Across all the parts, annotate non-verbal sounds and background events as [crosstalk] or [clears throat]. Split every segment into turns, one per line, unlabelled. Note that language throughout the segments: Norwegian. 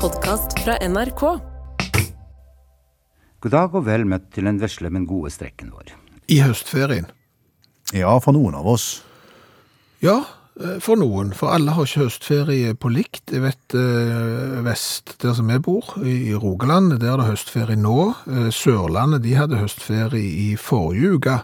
podkast fra NRK.
God dag og vel møtt til den vesle, men gode strekken vår.
I høstferien?
Ja, for noen av oss.
Ja, eh, for noen. For alle har ikke høstferie på likt. Jeg vet eh, vest, der som jeg bor, i i Rogaland, der er det høstferie nå. Eh, Sørlandet, de hadde høstferie i forrige uke.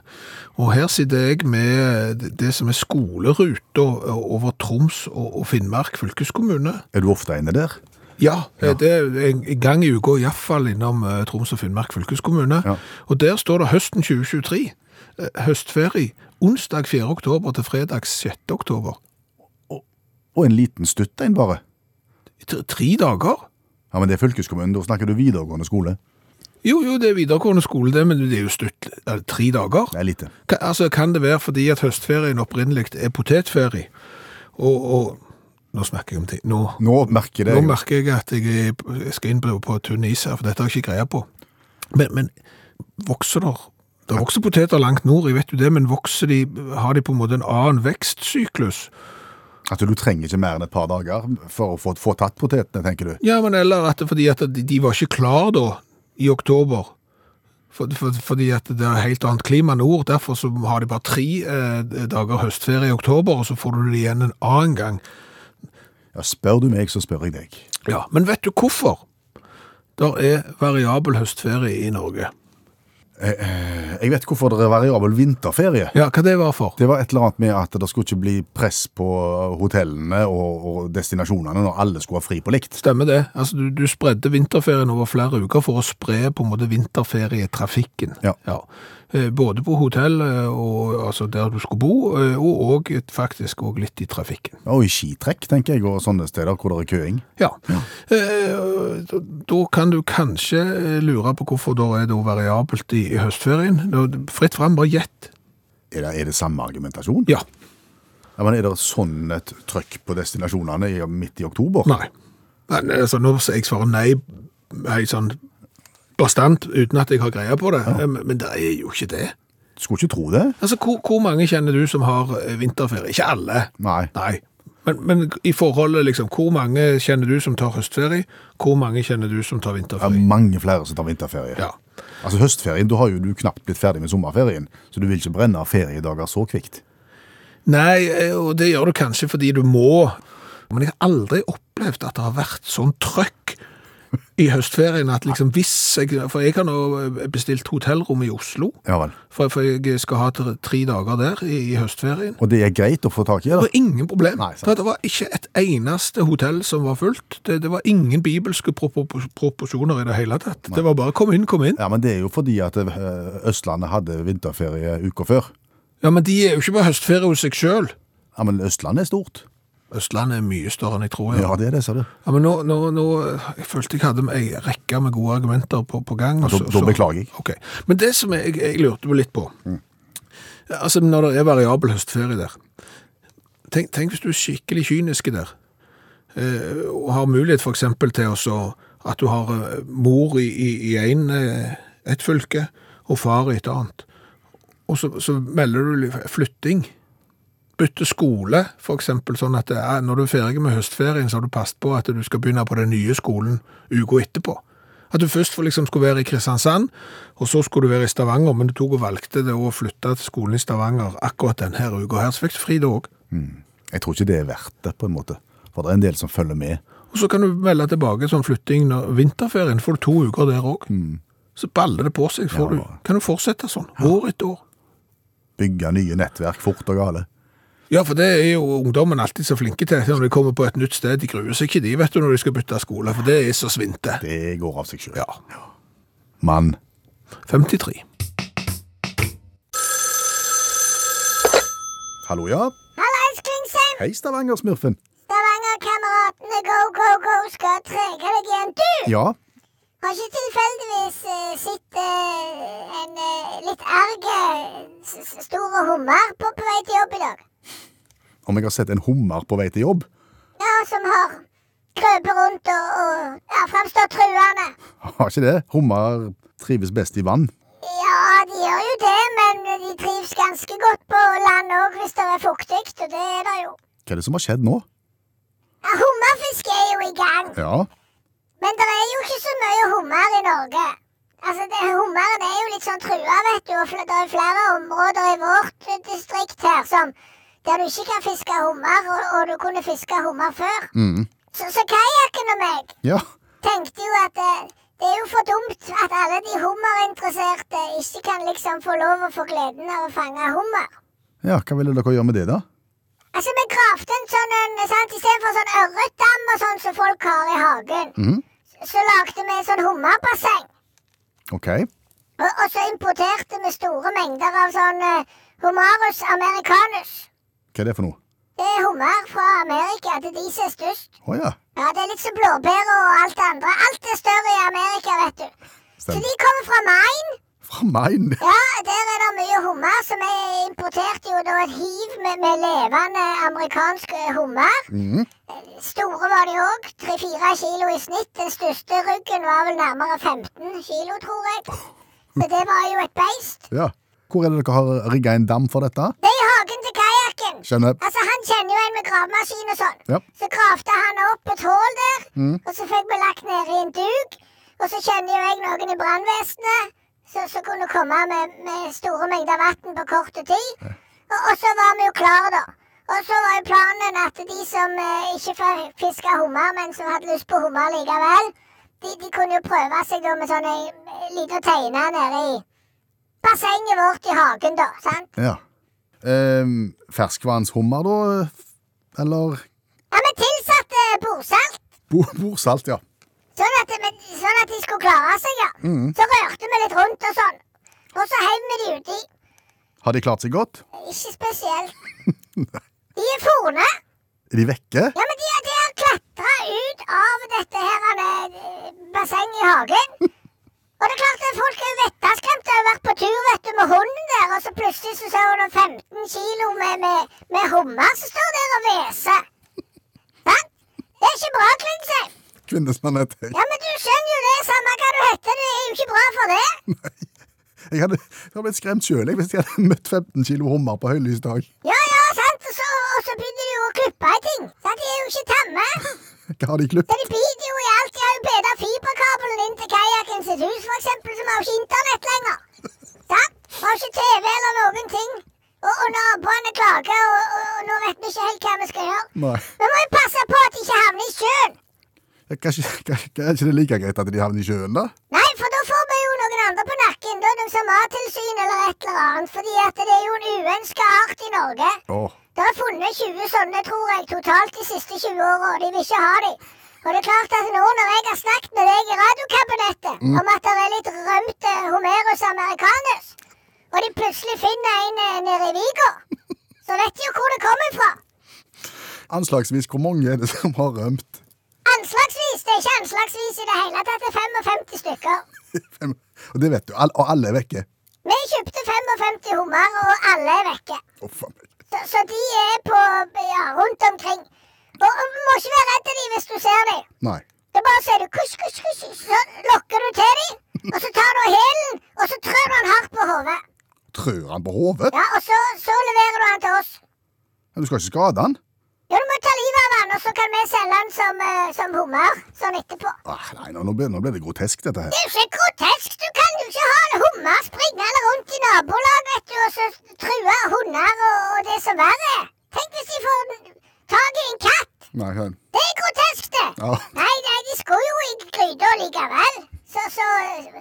Og her sitter jeg med det som er skoleruta over Troms og og Finnmark fylkeskommune.
Er du ofte inne der?
Ja, det er en en gang i uka iallfall innom eh, Troms og Finnmark fylkeskommune.
Ja.
Og der står det høsten 2023. eh, Høstferie onsdag 4. oktober til fredag 6. oktober.
Og en liten stutt en bare.
I tre- Tre dager?
Ja, men det er fylkeskommunen, da snakker du videregående skole.
Jo, jo, det er videregående skole, det, men det er jo stutt. eh, Tre dager?
Det er lite.
Ka- altså, kan det være fordi at høstferien opprinnelig er potetferie? Og, og Nå snakker jeg om ting. Nå,
Nå merker det
nå merker jeg at jeg, er- jeg skal inn på på tynn is her, for dette har jeg ikke greie på. Men, men vokser der Det vokser poteter langt nord, jeg vet jo det, men vokser de, har de på en måte en annen vekstsyklus?
at du trenger ikke mer enn et par dager for å få, få tatt potetene, tenker du.
Ja, men eller at det er fordi at de, de var ikke klar da, i oktober. For, for, fordi at det er helt annet klima nord, derfor så har de bare tre eh, dager høstferie i oktober, og så får du det igjen en annen gang.
Ja, spør du meg, så spør jeg deg.
Ja, men vet du hvorfor? Der er variabel høstferie i Norge.
Jeg vet hvorfor det er variabel vinterferie.
Ja, hva det var for?
Det var et eller annet med at det skulle ikke bli press på hotellene og, og destinasjonene når alle skulle ha fri på likt.
Stemmer det. Altså, du, du spredde vinterferien over flere uker for å spre på en måte vinterferietrafikken.
Ja.
Eh, Både på hotell, eh, og, altså der du skulle bo, eh, og, og faktisk også litt i trafikken.
Og i skitrekk, tenker jeg, og sånne steder hvor det er køing.
Ja. Eh, da- Da kan du kanskje eh, lure på hvorfor det er da variabelt i i høstferien. Da- Fritt frem, bare gjett.
Er det, er det samme argumentasjon?
Ja.
Ja, men Er det sånn et trøkk på destinasjonene i- midt i oktober?
Nei. Men, altså, nå sier jeg svaret nei, helt sånn bastant, uten at jeg har greie på det. Eh, Men men det er jo ikke det.
Skulle ikke tro det.
Altså, hvor, hvor mange kjenner du som har eh, vinterferie? Ikke alle.
Nei.
Nei. Men, men i forholdet, liksom, hvor mange kjenner du som tar høstferie? Hvor mange kjenner du som tar
Det er
vinterferie?
mange flere som tar vinterferie.
Ja.
Altså Høstferien, da har jo du knapt blitt ferdig med sommerferien, så du vil ikke brenne feriedager så kvikt.
Nei, eh, og det gjør du kanskje fordi du må. Men jeg har aldri opplevd at det har vært sånn trøkk i høstferien at liksom hvis jeg For jeg har nå eh, bestilt hotellrom i Oslo,
Ja vel.
for, for jeg skal ha tre tre dager der i, i høstferien.
Og det er greit å få tak i,
Det
eller?
var ingen problem.
Nei, sant.
For det var ikke et eneste hotell som var fullt. Det, det var ingen bibelske propor- proporsjoner i det hele tatt. Det var bare kom inn, kom inn.
Ja, men det er jo fordi at eh, Østlandet hadde vinterferie uka før.
Ja, men de er jo ikke på høstferie hos seg sjøl.
Ja, men Østlandet er stort.
Østlandet er mye større enn jeg tror.
Ja, det er det, sa du.
Ja, men nå, nå, nå Jeg følte jeg hadde ei rekke med gode argumenter på, på gang. og
Da-
så-
Altså, da
så-
beklager jeg. Mm.
Ok. Men det som jeg, jeg lurte meg litt på Altså, når det er variabel høstferie der Tenk, tenk hvis du er skikkelig kynisk der, eh, og har mulighet for eksempel til å så- at du har eh, mor i, i, i en, eh, et fylke, og far i et annet. Og så, så melder du li- flytting bytte skole, for eksempel, sånn at det er, når du er ferdig med høstferien, så har du passet på at du skal begynne på den nye skolen uka etterpå. At du først for liksom skulle være i Kristiansand, og så skulle du være i Stavanger, men du tok og valgte det å flytte til skolen i Stavanger akkurat denne uka her, så fikk du fri da òg.
Jeg tror ikke det er verdt det, på en måte. For det er en del som følger med.
Og så kan du melde tilbake sånn flytting når vinterferien, får du to uker der òg. Så baller det på seg. Får du, kan du fortsette sånn år etter år?
Bygge nye nettverk fort og gale.
Ja, for det er jo ungdommen alltid så flinke til. Når de kommer på et nytt sted, de gruer seg ikke de, vet du, når de skal bytte skole, for det er så svinte.
Det går av seg sjøl.
Ja.
Mann.
53.
Hallo, ja?
Hallais, Klingsheim!
Hei, Stavanger-smurfen.
Stavanger-kameratene go, go, go skal trege deg igjen. Du
Ja,
har ikke tilfeldigvis eh, sett eh, en eh, litt erg eh, s- s- store hummer på, på vei til jobb i dag?
om jeg har sett en hummer på vei til jobb?
Ja, som har krøpet rundt og, og ja, framstår truende.
Har ikke det. Hummer trives best i vann.
Ja, de gjør jo det, men de trives ganske godt på land òg hvis det er fuktig, og det er det jo.
Hva er det som har skjedd nå?
Ja, Hummerfiske er jo i gang.
Ja,
Men det er jo ikke så mye hummer i Norge. Altså, det, Hummeren er jo litt sånn trua, vet du. Og fl- det er flere områder i vårt eh, distrikt her som der du ikke kan fiske hummer, og, og du kunne fiske hummer før.
Mm.
Så, så kajakken og meg
Ja.
tenkte jo at eh, det er jo for dumt at alle de hummerinteresserte ikke kan liksom få lov å få gleden av å fange hummer.
ja, hva ville dere gjøre med det, da?
Altså, vi gravde en sånn en, sant, istedenfor sånn ørretdam og sånn som folk har i hagen.
Mhm.
Så lagde vi en sånn hummerbasseng.
OK.
Og, og så importerte vi store mengder av sånn eh, Humarus americanus.
Hva er det for noe?
Det er hummer fra Amerika. Det er de som er størst.
Å ja.
Ja, det er litt som blåbærer og alt det andre. Alt er større i Amerika, vet du. Så
Stemmer.
de kommer fra Maine.
Fra Maine.
Ja, der er det mye hummer, så vi importerte jo da et hiv med, med levende amerikansk eh, hummer.
Mhm.
Store var de òg. Tre-fire kilo i snitt. Den største ryggen var vel nærmere 15 kilo, tror jeg. Så det var jo et beist.
Ja. Hvor er det dere har rigga en dam for dette?
Det er i hagen til kajakken.
Skjønner.
Altså, han kjenner jo en med gravemaskin og sånn.
Ja.
Så gravde han opp et hull der, og så fikk vi lagt ned i en duk. Og så kjenner jo jeg noen i brannvesenet som som kunne komme med, med store mengder vann på kort tid. Og, og så var vi jo klare, da. Og så var jo planen at de som eh, ikke fikk fiska hummer, men som hadde lyst på hummer likevel, de, de kunne jo prøve seg da med sånn ei lita teine nede i bassenget vårt i hagen, da. sant?
Ja. Ehm, ferskvannshummer, da? Eller
Ja, vi tilsatte bordsalt.
bo bordsalt, ja.
Sånn at, men, sånn at de skulle klare seg, ja. Så rørte vi litt rundt og sånn. Og så heiv vi de uti.
Har de klart seg godt?
Ikke spesielt. De er forne.
Er de vekke?
Ja, men de, er- de har klatra ut av dette her eh, bassenget i hagen. Og det er klart at folk er jo vettaskremte. Jeg har jo vært på tur vet du, med hunden der, og så plutselig så ser hun noen 15 kilo med, med, med hummer som står der og hveser. Sant? Det er ikke bra, Klingsheim.
Kvinnesmannhet. Jeg,
Ja, men du skjønner jo det, samme hva du heter, det er jo ikke bra for det.
jeg hadde jeg hadde blitt skremt sjøl hvis jeg hadde møtt 15 kilo hummer på høylys dag.
Ja, ja, sant, og så, og så begynner de jo å klippe i ting. Sant, de er jo ikke tamme.
Hva har de klippet?
Så de biter jo i alt. De har jo beda fiberkabelen inn til kajakken sitt hus, for eksempel, som har jo ikke internett lenger. Sant? Vi Har ikke TV eller noen ting. Og, og naboene klager, og, og, og nå vet vi ikke helt hva vi skal gjøre.
Nei.
Vi må jo passe på at de ikke havner i sjøen.
Er kanskje, kanskje, er ikke det like greit at de havner i sjøen, da?
Nei, for da får vi jo noen andre på nakken. Da er det som Mattilsynet eller et eller annet. Fordi at det er jo en uønska art i Norge.
Åh,
Det er funnet 20 sånne, tror jeg, totalt de siste 20 åra, og de vil ikke ha de. Og det er klart at nå når jeg har snakket med deg i radiokabinettet om at det er litt rømt eh, Homerus americanus, og de plutselig finner en eh, nede i Viga, så vet de jo hvor det kommer fra.
Anslagsvis hvor mange er det som har rømt?
Anslagsvis. Det er ikke anslagsvis i det hele tatt. Det er 55 stykker.
Fem- Og det vet du. All, og alle er vekke.
Vi kjøpte 55 hummer, og alle er vekke.
Å, faen meg.
Så, så de er på, ja, rundt omkring. Og, og Du må ikke være redd de hvis du ser dem.
Nei.
Det er bare sier du kusj, kusj, kusj, så lokker du til dem. Og så tar du hælen, og så trør du den hardt på hodet.
Trør han på hodet?
Ja, og så, så leverer du den til oss.
Du skal ikke skade han?
Ja, du må ta livet av den, og så kan vi selge den som, eh, som hummer sånn etterpå.
Ah, nei, nå, nå ble, nå ble det grotesk, dette her.
Det er jo ikke grotesk. Du kan jo ikke ha en hummer springende rundt i nabolag, vet du, og så true hunder og, og det som verre er. Tenk hvis de får tak i en katt.
Nei, han-
Det er grotesk, det.
Ja.
Nei, nei, de skulle jo i gryta likevel. Så, så eh,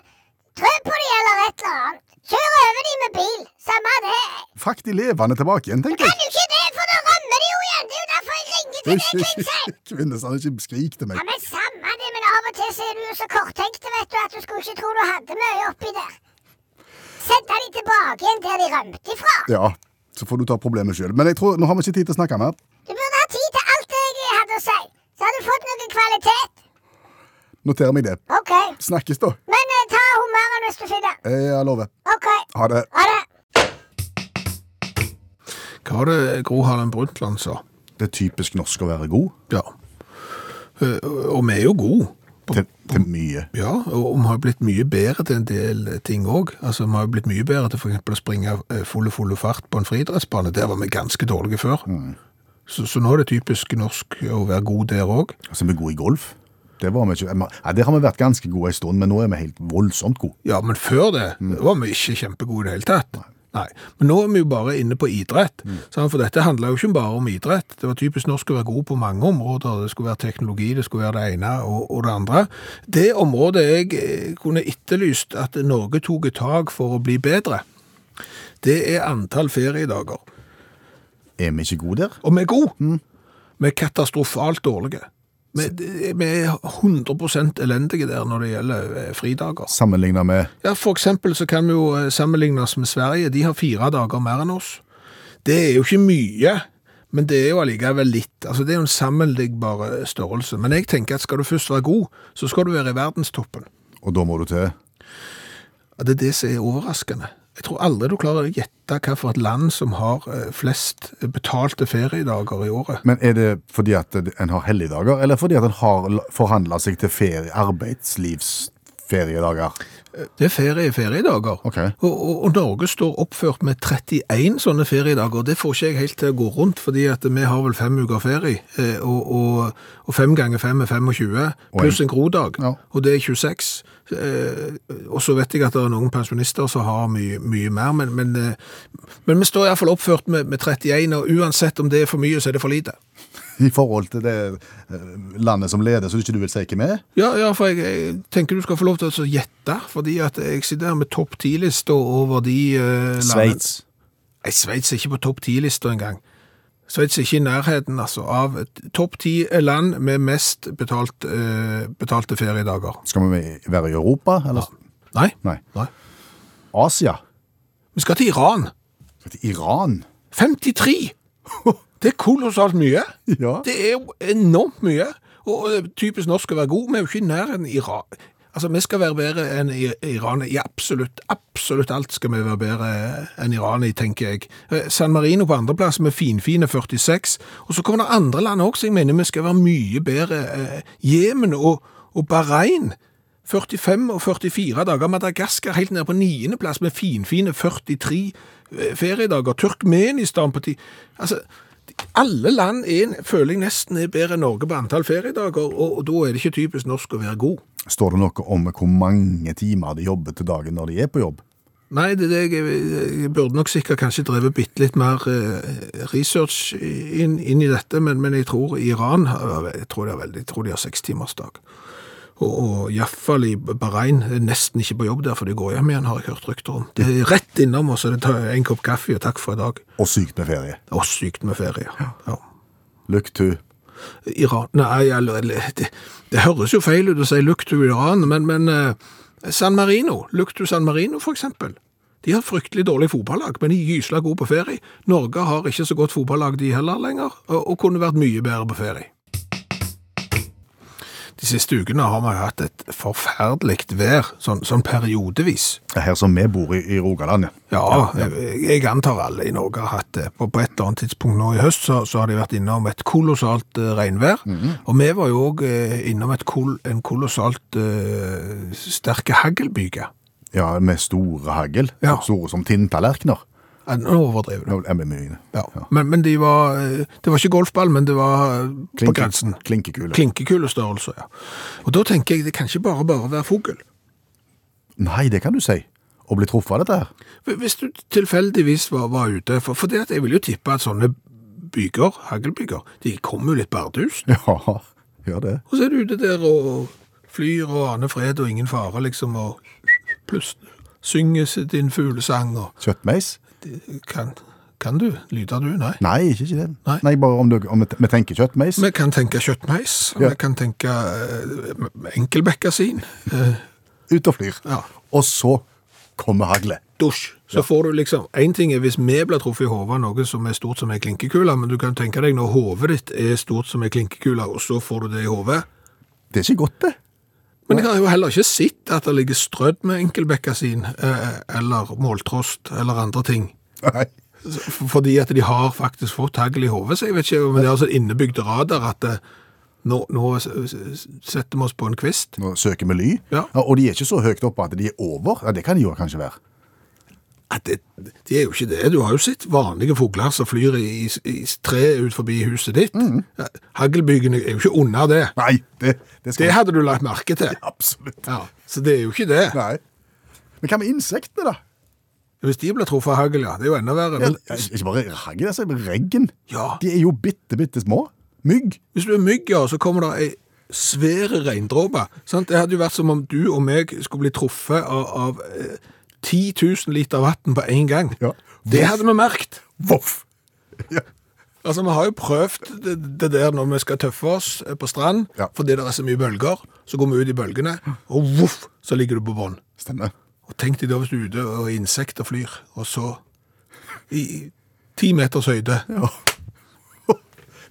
trø på de eller et eller annet. Kjør over de med bil. Samme det.
Frakt de levende tilbake igjen, tenker
Kan
jeg.
du ikke det, for da rammer de jo igjen. Det er jo derfor jeg ringer til deg, Klingsheim.
Kvinnesand, ikke skrik til meg.
Ja, men samme det, men av og til så er du jo så korttenkt, vet du, at du skulle ikke tro du hadde mye oppi der. Sette de tilbake igjen der de rømte ifra.
Ja, så får du ta problemet sjøl. Men jeg tror, nå har vi ikke tid til å snakke mer.
Du burde ha tid til alt det jeg hadde å si. Så har du fått noe kvalitet.
Noterer meg det.
OK.
Snakkes, da.
Men eh, ta hummeren hvis du finner den.
Eh, Jeg lover.
OK.
Ha det.
Ha det.
Hva var det Gro Harlem Brundtland sa?
Det er typisk norsk å være god.
Ja. Eh, Og vi er jo gode.
Til, til mye.
Ja, og vi har blitt mye bedre til en del ting òg. Altså, vi har blitt mye bedre til f.eks. å springe eh, fulle, fulle fart på en friidrettsbane. Der var vi ganske dårlige Mm. før. Så, så nå er det typisk norsk å være god der òg.
Altså, vi er gode i golf. Det var vi ikke. Ja, der har vi vært ganske gode en stund, men nå er vi helt voldsomt gode.
Ja, men før det var vi ikke kjempegode i det hele tatt. Nei. Men nå er vi jo bare inne på idrett. sant? For dette handla jo ikke bare om idrett. Det var typisk norsk å være god på mange områder. Det skulle være teknologi, det skulle være det ene og, og det andre. Det området jeg eh, kunne etterlyst at Norge tok et tak for å bli bedre, det er antall feriedager.
Er vi ikke gode der?
Og vi er gode. Vi er katastrofalt dårlige. Vi, vi er 100 elendige der når det gjelder eh, fridager.
Sammenlignet med
Ja, for eksempel så kan vi jo eh, sammenligne oss med Sverige. De har fire dager mer enn oss. Det er jo ikke mye, men det er jo allikevel litt. Altså, det er jo en sammenlignbar eh, størrelse. Men jeg tenker at skal du først være god, så skal du være i verdenstoppen.
Og da må du til
Ja, Det er det som er overraskende. Jeg tror aldri du klarer å gjette hva for et land som har eh, flest betalte feriedager i året.
Men er det fordi at en har helligdager, eller fordi at en har forhandla seg til ferie, arbeidslivsferiedager?
Det er ferie i feriedager.
Ok.
Og, og, og Norge står oppført med 31 sånne feriedager. Det får ikke jeg helt til å gå rundt, fordi at vi har vel fem uker ferie. eh, Og, og, og fem ganger fem er 25, pluss en grodag.
Ja.
Og det er 26. Eh, Og så vet jeg at det er noen pensjonister som har mye, mye mer, men, men, eh, men vi står iallfall oppført med, med 31, og uansett om det er for mye, så er det for lite.
I forhold til det eh, landet som leder, så ikke du vil si hvem er?
Ja, ja, for jeg, jeg tenker du skal få lov til å gjette, fordi at jeg sitter her med topp 10-lista over de eh, landene- Nei, Sveits er ikke på topp 10-lista engang. Sveits er ikke i nærheten altså, av et topp 10 land med mest betalt, eh, betalte feriedager.
Skal vi være i Europa, eller?
Nei.
Nei.
Nei.
Asia?
Vi skal til Iran.
Skal til Iran?
53! Det er kolossalt mye.
Ja.
Det er jo enormt mye. Og eh, typisk norsk å være god, vi er jo ikke i nærheten av Iran. Altså, vi skal være bedre enn i- Iran i absolutt, absolutt alt skal vi være bedre enn Iran i, tenker jeg. Eh, San Marino på andreplass med finfine 46, og så kommer det andre land også, jeg mener vi skal være mye bedre. eh, Jemen og, og Bahrein, 45 og 44 dager. Madagaskar helt ned på 9. plass med finfine 43 eh, feriedager. Turkmenistan på 10. Altså, alle land er, en- føler jeg nesten er bedre enn Norge på antall feriedager, og, og da er det ikke typisk norsk å være god.
Står det noe om hvor mange timer de jobber til dagen når de er på jobb?
Nei, det er det jeg, jeg burde nok sikkert kanskje drevet bitte litt mer eh, research inn, inn i dette, men, men jeg tror Iran har- jeg tror, det er veldig, jeg tror de har sekstimersdag. Og, og iallfall i Bahrain er nesten ikke på jobb der, for de går hjem igjen, har jeg hørt rykter om. Det er rett innom, og så er det ta en kopp kaffe og takk for i dag.
Og sykt med ferie.
Og sykt med ferie. Ja.
Look to.
Iran Nei, eller, eller det, det høres jo feil ut å si look to Iran, men, men eh, San Marino, look to San Marino for eksempel. De har fryktelig dårlig fotballag, men de er gysla gode på ferie. Norge har ikke så godt fotballag de heller lenger, og, og kunne vært mye bedre på ferie. De siste ukene har vi hatt et forferdelig vær, sånn, sånn periodevis.
Det er her som vi bor i, i Rogaland, ja.
Ja, Jeg, jeg antar alle i Norge har hatt det. På, på et eller annet tidspunkt nå i høst så, så har de vært innom et kolossalt eh, regnvær. Og vi var jo òg eh, innom et kol, en kolossalt eh, sterke haglbyge.
ja med store hagl.
Ja.
Store som tinntallerkener.
Eh, Nå overdriver du.
Nå er vi mye.
Ja. Men, men de var eh, Det var ikke golfball, men det var eh, på
Klinke-
grensen.
Klinkekule.
Klinkekulestørrelse, ja. Og da tenker jeg det kan ikke bare bare være fugl.
Nei, det kan du si. Å bli truffet av dette her. [laughs]
Hvis du tilfeldigvis var, var ute For, for det at jeg vil jo tippe at sånne byger, haglbyger, de kommer jo litt bardust.
Ja, gjør det.
Og så er du ute der og flyr og aner fred og ingen fare, liksom, og pluss synges din fuglesang, og
Kjøttmeis?
kan, kan du? Lyder du? Nei.
Nei, ikke, ikke det.
Nei.
bare om, du, om vi t- vi tenker kjøttmeis.
Vi kan tenke kjøttmeis,
Ja.
vi kan tenke eh, enkelbekkasin, eh,
Ut og flyr.
Ja.
Og så kommer hagle.
dusj. Så får du liksom, en ting er hvis vi blir truffet i hovedet av noe som er stort som en klinkekula, men du kan tenke deg når hovedet ditt er stort som en klinkekula, og så får du det i hovedet.
Det er ikke godt,
[laughs]
det.
Men jeg har jo heller ikke sett at det ligger strødd med enkelbekkasin, eh, eller måltrost, eller andre ting.
Nei.
F- Fordi at de har faktisk fått hagl i hodet, så jeg vet ikke om det er altså innebygd radar at eh, nå, nå s- s- setter vi oss på en kvist.
Nå søker vi ly,
Ja.
og de er ikke så høyt oppe at de er over. Ja, det kan de jo kanskje være.
At det, de er jo ikke det. Du har jo sett vanlige fugler som flyr i, i, i tre ut forbi huset ditt.
Mm.
Ja, Haglbygene er jo ikke under det.
Nei, det, det skal
Det hadde du lagt merke til.
[laughs] Absolutt.
Ja, så det er jo ikke det.
Nei. Men hva med insektene, da?
Hvis de blir truffet av hagl, ja. Det er jo enda verre. Men
Ja, eh, ikke bare hagl, altså, men regn.
Ja.
De er jo bitte, bitte små. Mygg.
hvis du er mygg, ja, så kommer det ei svære regndråpe. sant? Det hadde jo vært som om du og meg skulle bli truffet av, av eh, 10 000 liter vann på én gang.
Ja.
Det hadde vi merket.
Voff. Ja.
Altså, Vi har jo prøvd det, det der når vi skal tøffe oss eh, på strand,
Ja.
fordi det er så mye bølger. Så går vi ut i bølgene, og voff, så ligger du på bånn.
Stemmer.
Og tenk deg da hvis du er ute og insekter flyr, og så i i ti meters høyde.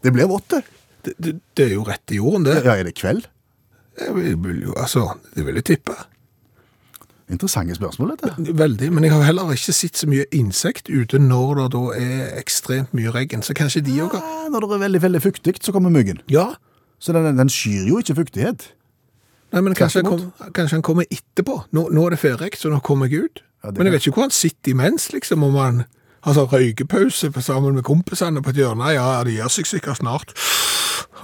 Det blir vått, det.
Det, det, det er jo rett i jorden, det.
Ja, er det kveld?
Jeg vil, vil jo, altså, det vil jeg tippe.
Interessante spørsmål, dette.
Veldig, men jeg har heller ikke sett så mye insekt ute når det da er ekstremt mye regn, så kanskje de òg har
Ja, Når det er veldig, veldig fuktig, så kommer myggen.
Ja,
Så den, den skyr jo ikke fuktighet.
nei, men kanskje,
Tvert
han kom, kanskje han kommer etterpå. Nå, nå er det ferdig, så nå kommer jeg ut.
Ja, det
men jeg
kan-
vet ikke hvor han sitter imens, liksom, om han har sånn røykepause på- sammen med kompisene på et hjørne. Ja, det gjør seg sikkert snart.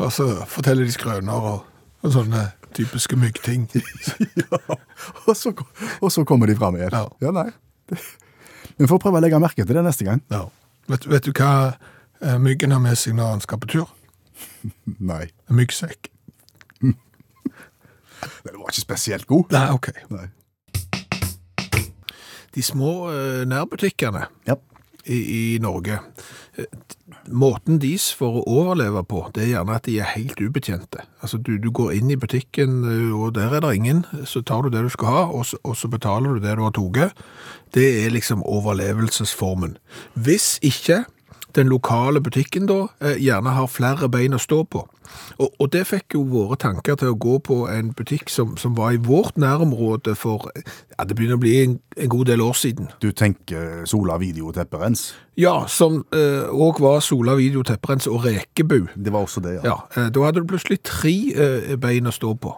Og så forteller de skrøner og, og sånne typiske
[laughs]
myggting.
[laughs] og, så, kom- og så kommer de fram igjen.
Ja.
nei. Vi får prøve å legge merke til det neste gang.
Ja. Vet, vet du hva eh, myggen har med seg når han skal på tur?
Nei.
En myggsekk.
Den var ikke spesielt god.
Nei, ok.
Nei.
De små eh, nærbutikkene
Ja.
i, i Norge, eh, måten deres for å overleve på, det er gjerne at de er helt ubetjente. Altså, du, du går inn i butikken, eh, og der er det ingen, så tar du det du skal ha, og så, og så betaler du det du har toget. Det er liksom overlevelsesformen. Hvis ikke den lokale butikken da eh, gjerne har flere bein å stå på. Og, og det fikk jo våre tanker til å gå på en butikk som, som var i vårt nærområde for, ja, det begynner å bli en, en god del år siden.
Du tenker Sola videotepperens.
Ja, som òg var Sola Video Tepperens og Rekebu.
Det var også det,
Ja, eh, Da hadde du plutselig tre eh, bein å stå på.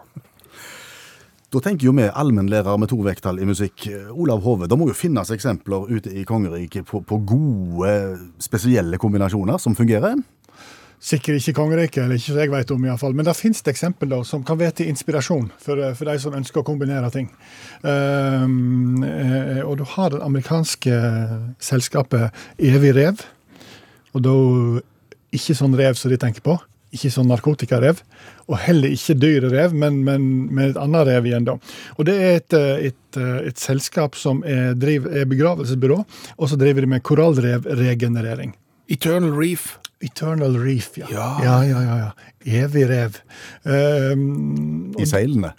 Da tenker jo vi allmennlærer med to vekttall i musikk, Olav Hove. Det må jo finnes eksempler ute i kongeriket på, på gode, spesielle kombinasjoner som fungerer.
Sikkert ikke kongeriket, eller ikke som jeg vet om iallfall. Men det finnes det eksempel da, som kan være til inspirasjon for, eh, for de som ønsker å kombinere ting. Ehm, eh, og du har det amerikanske selskapet Evig Rev. Og da ikke sånn rev som de tenker på. Ikke sånn narkotikarev. Og heller ikke dyre rev, men, men med et annet rev igjen, da. Og det er et, eh, et, eh, et selskap som er, driv, er begravelsesbyrå, og så driver de med korallrevregenerering.
Eternal Reef.
Eternal Reef, ja.
Ja.
ja, ja, ja, ja. Evig rev. Ehm,
I seilene.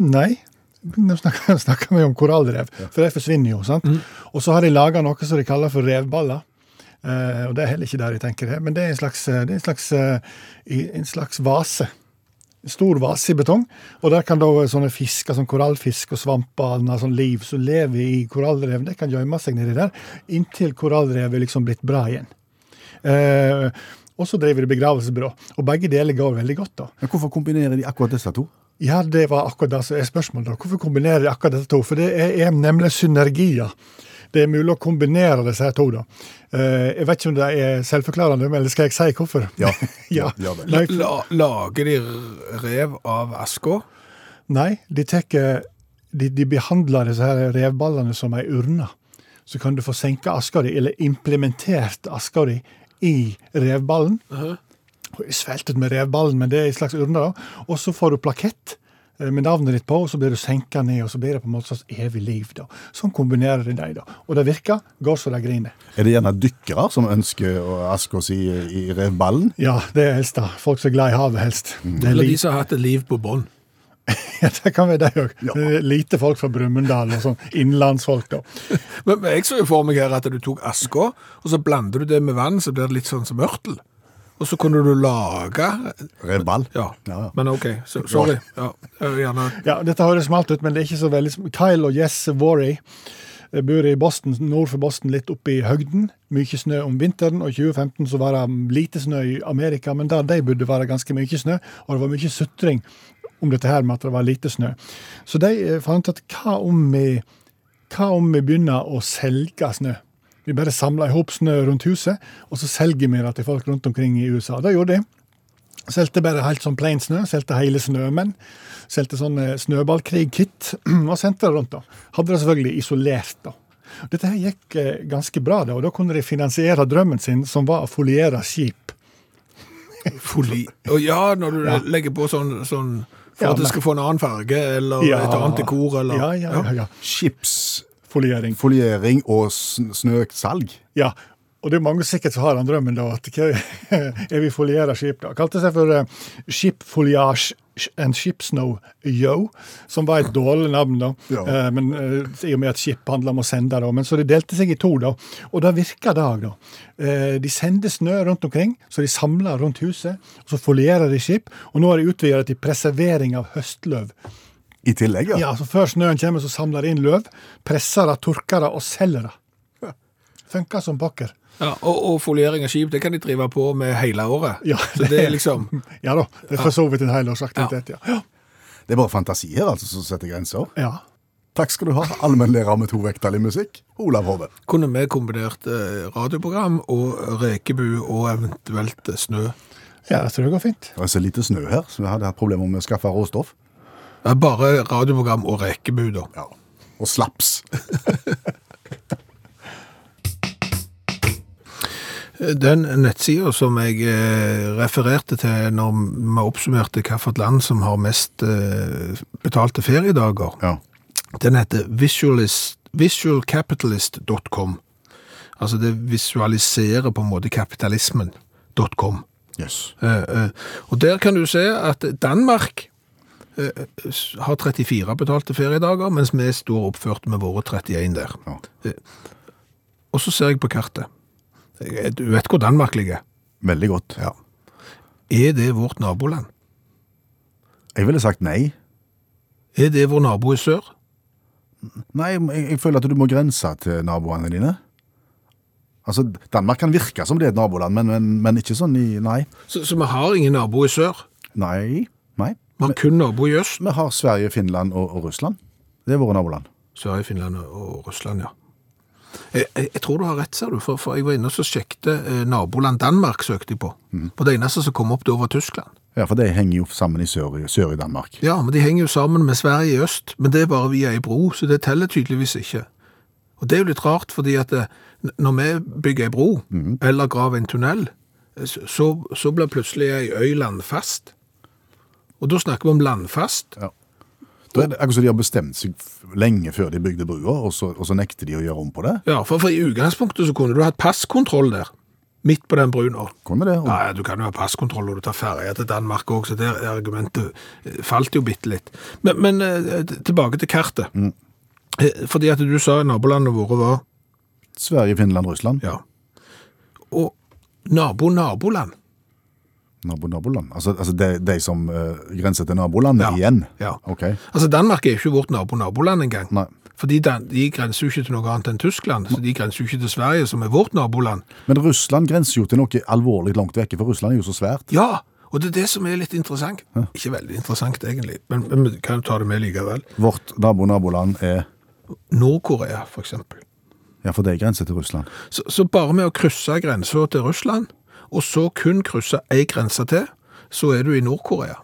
nei, nå snakker, [laughs] snakker vi om korallrev, for de forsvinner jo. sant? Og så har de laga noe som de kaller for revballer. Eh, og det er heller ikke der de tenker det, men det er en slags, det er en slags, eh, i- en slags vase. En Stor vase i betong, og der kan da sånne fisker som korallfisk og svamper og sånn liv som lever i korallrev, de kan gjemme seg nedi der inntil korallrevet er liksom blitt bra igjen. Eh, og så driver de begravelsesbyrå. Og begge deler går veldig godt, da.
Men hvorfor kombinerer de akkurat disse to?
Ja, det var akkurat det som er spørsmålet. da. Hvorfor kombinere de akkurat disse to? For det er, er nemlig synergier. Det er mulig å kombinere disse her to, da. Eh, jeg vet ikke om det er selvforklarende, men eller skal jeg si hvorfor?
Ja,
[laughs] ja.
gjør det.
Nei,
La, la, lager de r- rev av aska?
Nei, de, tek, de, de behandler disse her revballene som ei urne. Så kan du få senka aska di, eller implementert aska di, i revballen.
Uh-huh.
Og Svelget ut med revballen, men det er en slags urne. da. Og så får du plakett eh, med navnet ditt på, og så blir du senka ned, og så blir det på en måte et slags evig liv. da. Sånn kombinerer de dem, da. Og det virker. Går så de griner.
Er det gjerne dykkere som ønsker å aske oss i, i revballen?
Ja, det er helst, da. Folk som er glad i havet, helst. Det er
Mm. Eller
liv.
de som har hatt et liv på bånn?
[laughs] Ja, det kan være de òg. Lite folk fra Brumunddal og sånn innlandsfolk, da.
Men men jeg så jo for meg her at du tok aska, og så blander du det med vann, så blir det litt sånn som ørtel. Og så kunne du lage
Revball?
Ja.
Ja, ja.
Men OK, så, sorry. Ja, eh, gjerne.
Ja, Dette høres smalt ut, men det er ikke så veldig sm- Kyle og Jess Worry eh, bor i Boston, nord for Boston, litt oppe i høgden. Mye snø om vinteren, og i 2015 så var det lite snø i Amerika, men der de bodde var det ganske mye snø, og det var mye sutring om dette her med at det var lite snø. Så de eh, fant ut hva om vi hva om vi begynner å selge snø? Vi bare samler i hop snø rundt huset, og så selger vi det til folk rundt omkring i USA. Det gjorde de. Solgte bare helt sånn plain snø. Solgte hele snømenn. Solgte sånn eh, snøballkrig-kit. [clears throat] Og sendte det rundt, da. Hadde det selvfølgelig isolert, da. Dette her gikk eh, ganske bra, da, og da kunne de finansiere drømmen sin, som var å foliere skip.
Foli. Og ja, når du
Ja.
legger på sånn, sånn for
Ja,
at det
men-
skal få en annen farge, eller
Ja.
et annet dekor, eller
Ja, ja, ja. ja.
Skipsfoliering
Foliering.
og sn- snøsalg.
Ja, og det er mange sikkert som har den drømmen da, at hva [laughs] er vi folierer skip da? Kalte seg for eh, Ship Foliage and Ship Snow Yo, som var et dårlig navn da,
Ja.
Eh, men eh, i og med at skip handler om å sende da, men så de delte seg i to da, og det virker dag da. Eh, De sender snø rundt omkring, så de samler rundt huset, og så folierer de skip, og nå er de utvidet til preservering av høstløv.
I tillegg, ja.
Ja, så Før snøen kommer, så samler de inn løv, presser det, tørker det og selger det. Funker som pokker.
Ja, og, og foliering av skip, det kan de drive på med hele året.
Ja,
Så det er liksom
[laughs] Ja da, det er for så vidt en helårsaktivitet, ja. ja.
Det er bare fantasi her altså som setter grenser.
ja.
Takk skal du ha, allmennlærer med to vekttall i musikk, Olav Hove.
Kunne vi kombinert eh, radioprogram og rekebu og eventuelt eh, snø?
Ja, jeg tror det går fint.
Det er så lite snø her, så vi hadde hatt problemer med å skaffe råstoff.
Ja, bare radioprogram og rekebu, da.
Ja. Og slaps.
Den nettsida som jeg eh, refererte til når vi oppsummerte hvilket land som har mest eh, betalte feriedager,
Ja.
den heter visualist- visualcapitalist.com. Altså det visualiserer på en måte kapitalismen. .com.
Yes.
Eh, eh, Og der kan du se at Danmark eh, s- har 34 betalte feriedager, mens vi står oppført med våre 31 der.
Ja.
Og så ser jeg på kartet. Eh, Du vet hvor Danmark ligger.
Veldig godt.
Er det vårt naboland?
Jeg ville sagt nei.
Er det vår nabo i sør?
Nei, jeg, jeg føler at du må grense til naboene dine. Altså, Danmark kan virke som det er et naboland, men, men, men ikke sånn i Nei.
Så, så vi har ingen nabo i sør.
Nei. Nei.
Vi har kun nabo i øst.
Vi har Sverige, Finland og, og Russland. Det er våre naboland.
Sverige, Finland og Russland, ja. Jeg, jeg, jeg tror du har rett, ser du, for, for jeg var inne og så sjekket eh, naboland Danmark søkte jeg på. Og det eneste som kom opp da var Tyskland.
Ja, for de henger jo sammen i sør, sør i Danmark.
Ja, men de henger jo sammen med Sverige i øst, men det er bare via ei bro, så det teller tydeligvis ikke. Og det er jo litt rart, fordi at eh, n- når vi bygger ei bro, eller graver en tunnel, eh, så- så, så blir plutselig ei øy landfast. Og da snakker vi om landfast.
Da er det akkurat som de har bestemt seg f- lenge før de bygde brua, og så, og så nekter de å gjøre om på det.
Ja, for, for i utgangspunktet så kunne du hatt passkontroll der, midt på den brua.
Kunne det? Og,
Ja, ja, du kan jo ha passkontroll når du tar ferje til Danmark òg, så det argumentet eh, falt jo bitte litt. Men, men eh, t- tilbake til kartet. Eh, Fordi at du sa nabolandet våre var
Sverige, Finland, Russland.
Ja. Og nabo-naboland.
Nabo, naboland. Altså, altså de, de som eh, grenser til nabolandet
Ja.
igjen?
Ja.
Ok.
Altså, Danmark er jo ikke vårt nabo-naboland engang.
Nei.
Fordi Dan de grenser jo ikke til noe annet enn Tyskland, så de grenser jo ikke til Sverige, som er vårt naboland.
Men Russland grenser jo til noe alvorlig langt vekke, for Russland er jo så svært.
Ja, og det er det som er litt interessant. Ikke veldig interessant, egentlig, men, men vi kan jo ta det med likevel.
Vårt nabo-naboland er
Nord-Korea, for eksempel.
Ja, for de grenser til Russland.
Så, så bare med å krysse grensa til Russland, og så kun krysse ei grense til, så er du i Nord-Korea.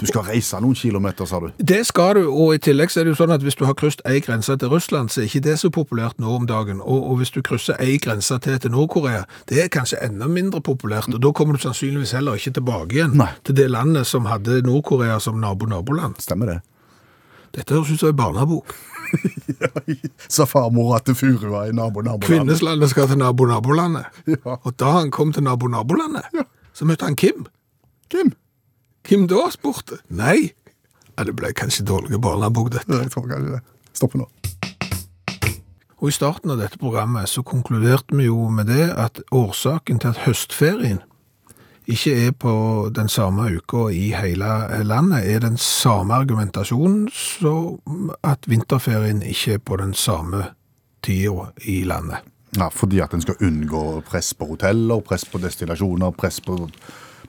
Du skal reise noen kilometer, sa du.
Det skal du, og i tillegg så er det jo sånn at hvis du har krysset ei grense til Russland, så er ikke det så populært nå om dagen. Og, og hvis du krysser ei grense til til Nord-Korea, det er kanskje enda mindre populært, og da kommer du sannsynligvis heller ikke tilbake igjen
Nei.
til det landet som hadde Nord-Korea som nabo-naboland.
Stemmer det.
Dette høres ut som en barnebok.
Sa farmora til furua i nabo-nabolandet.
Kvinneslandet skal til nabo-nabolandet.
Ja.
Og da han kom til nabo-nabolandet, så møtte han Kim.
Kim?
Kim da spurte. Nei. Ja, det ble kanskje dårlige barnebok, dette.
Nei, Jeg tror kanskje det. Stopp nå.
Og I starten av dette programmet så konkluderte vi jo med det at årsaken til at høstferien ikke er på den samme uka i hele landet, er den samme argumentasjonen som at vinterferien ikke er på den samme tida i landet.
Ja, fordi at en skal unngå press på hoteller, press på destillasjoner, press på,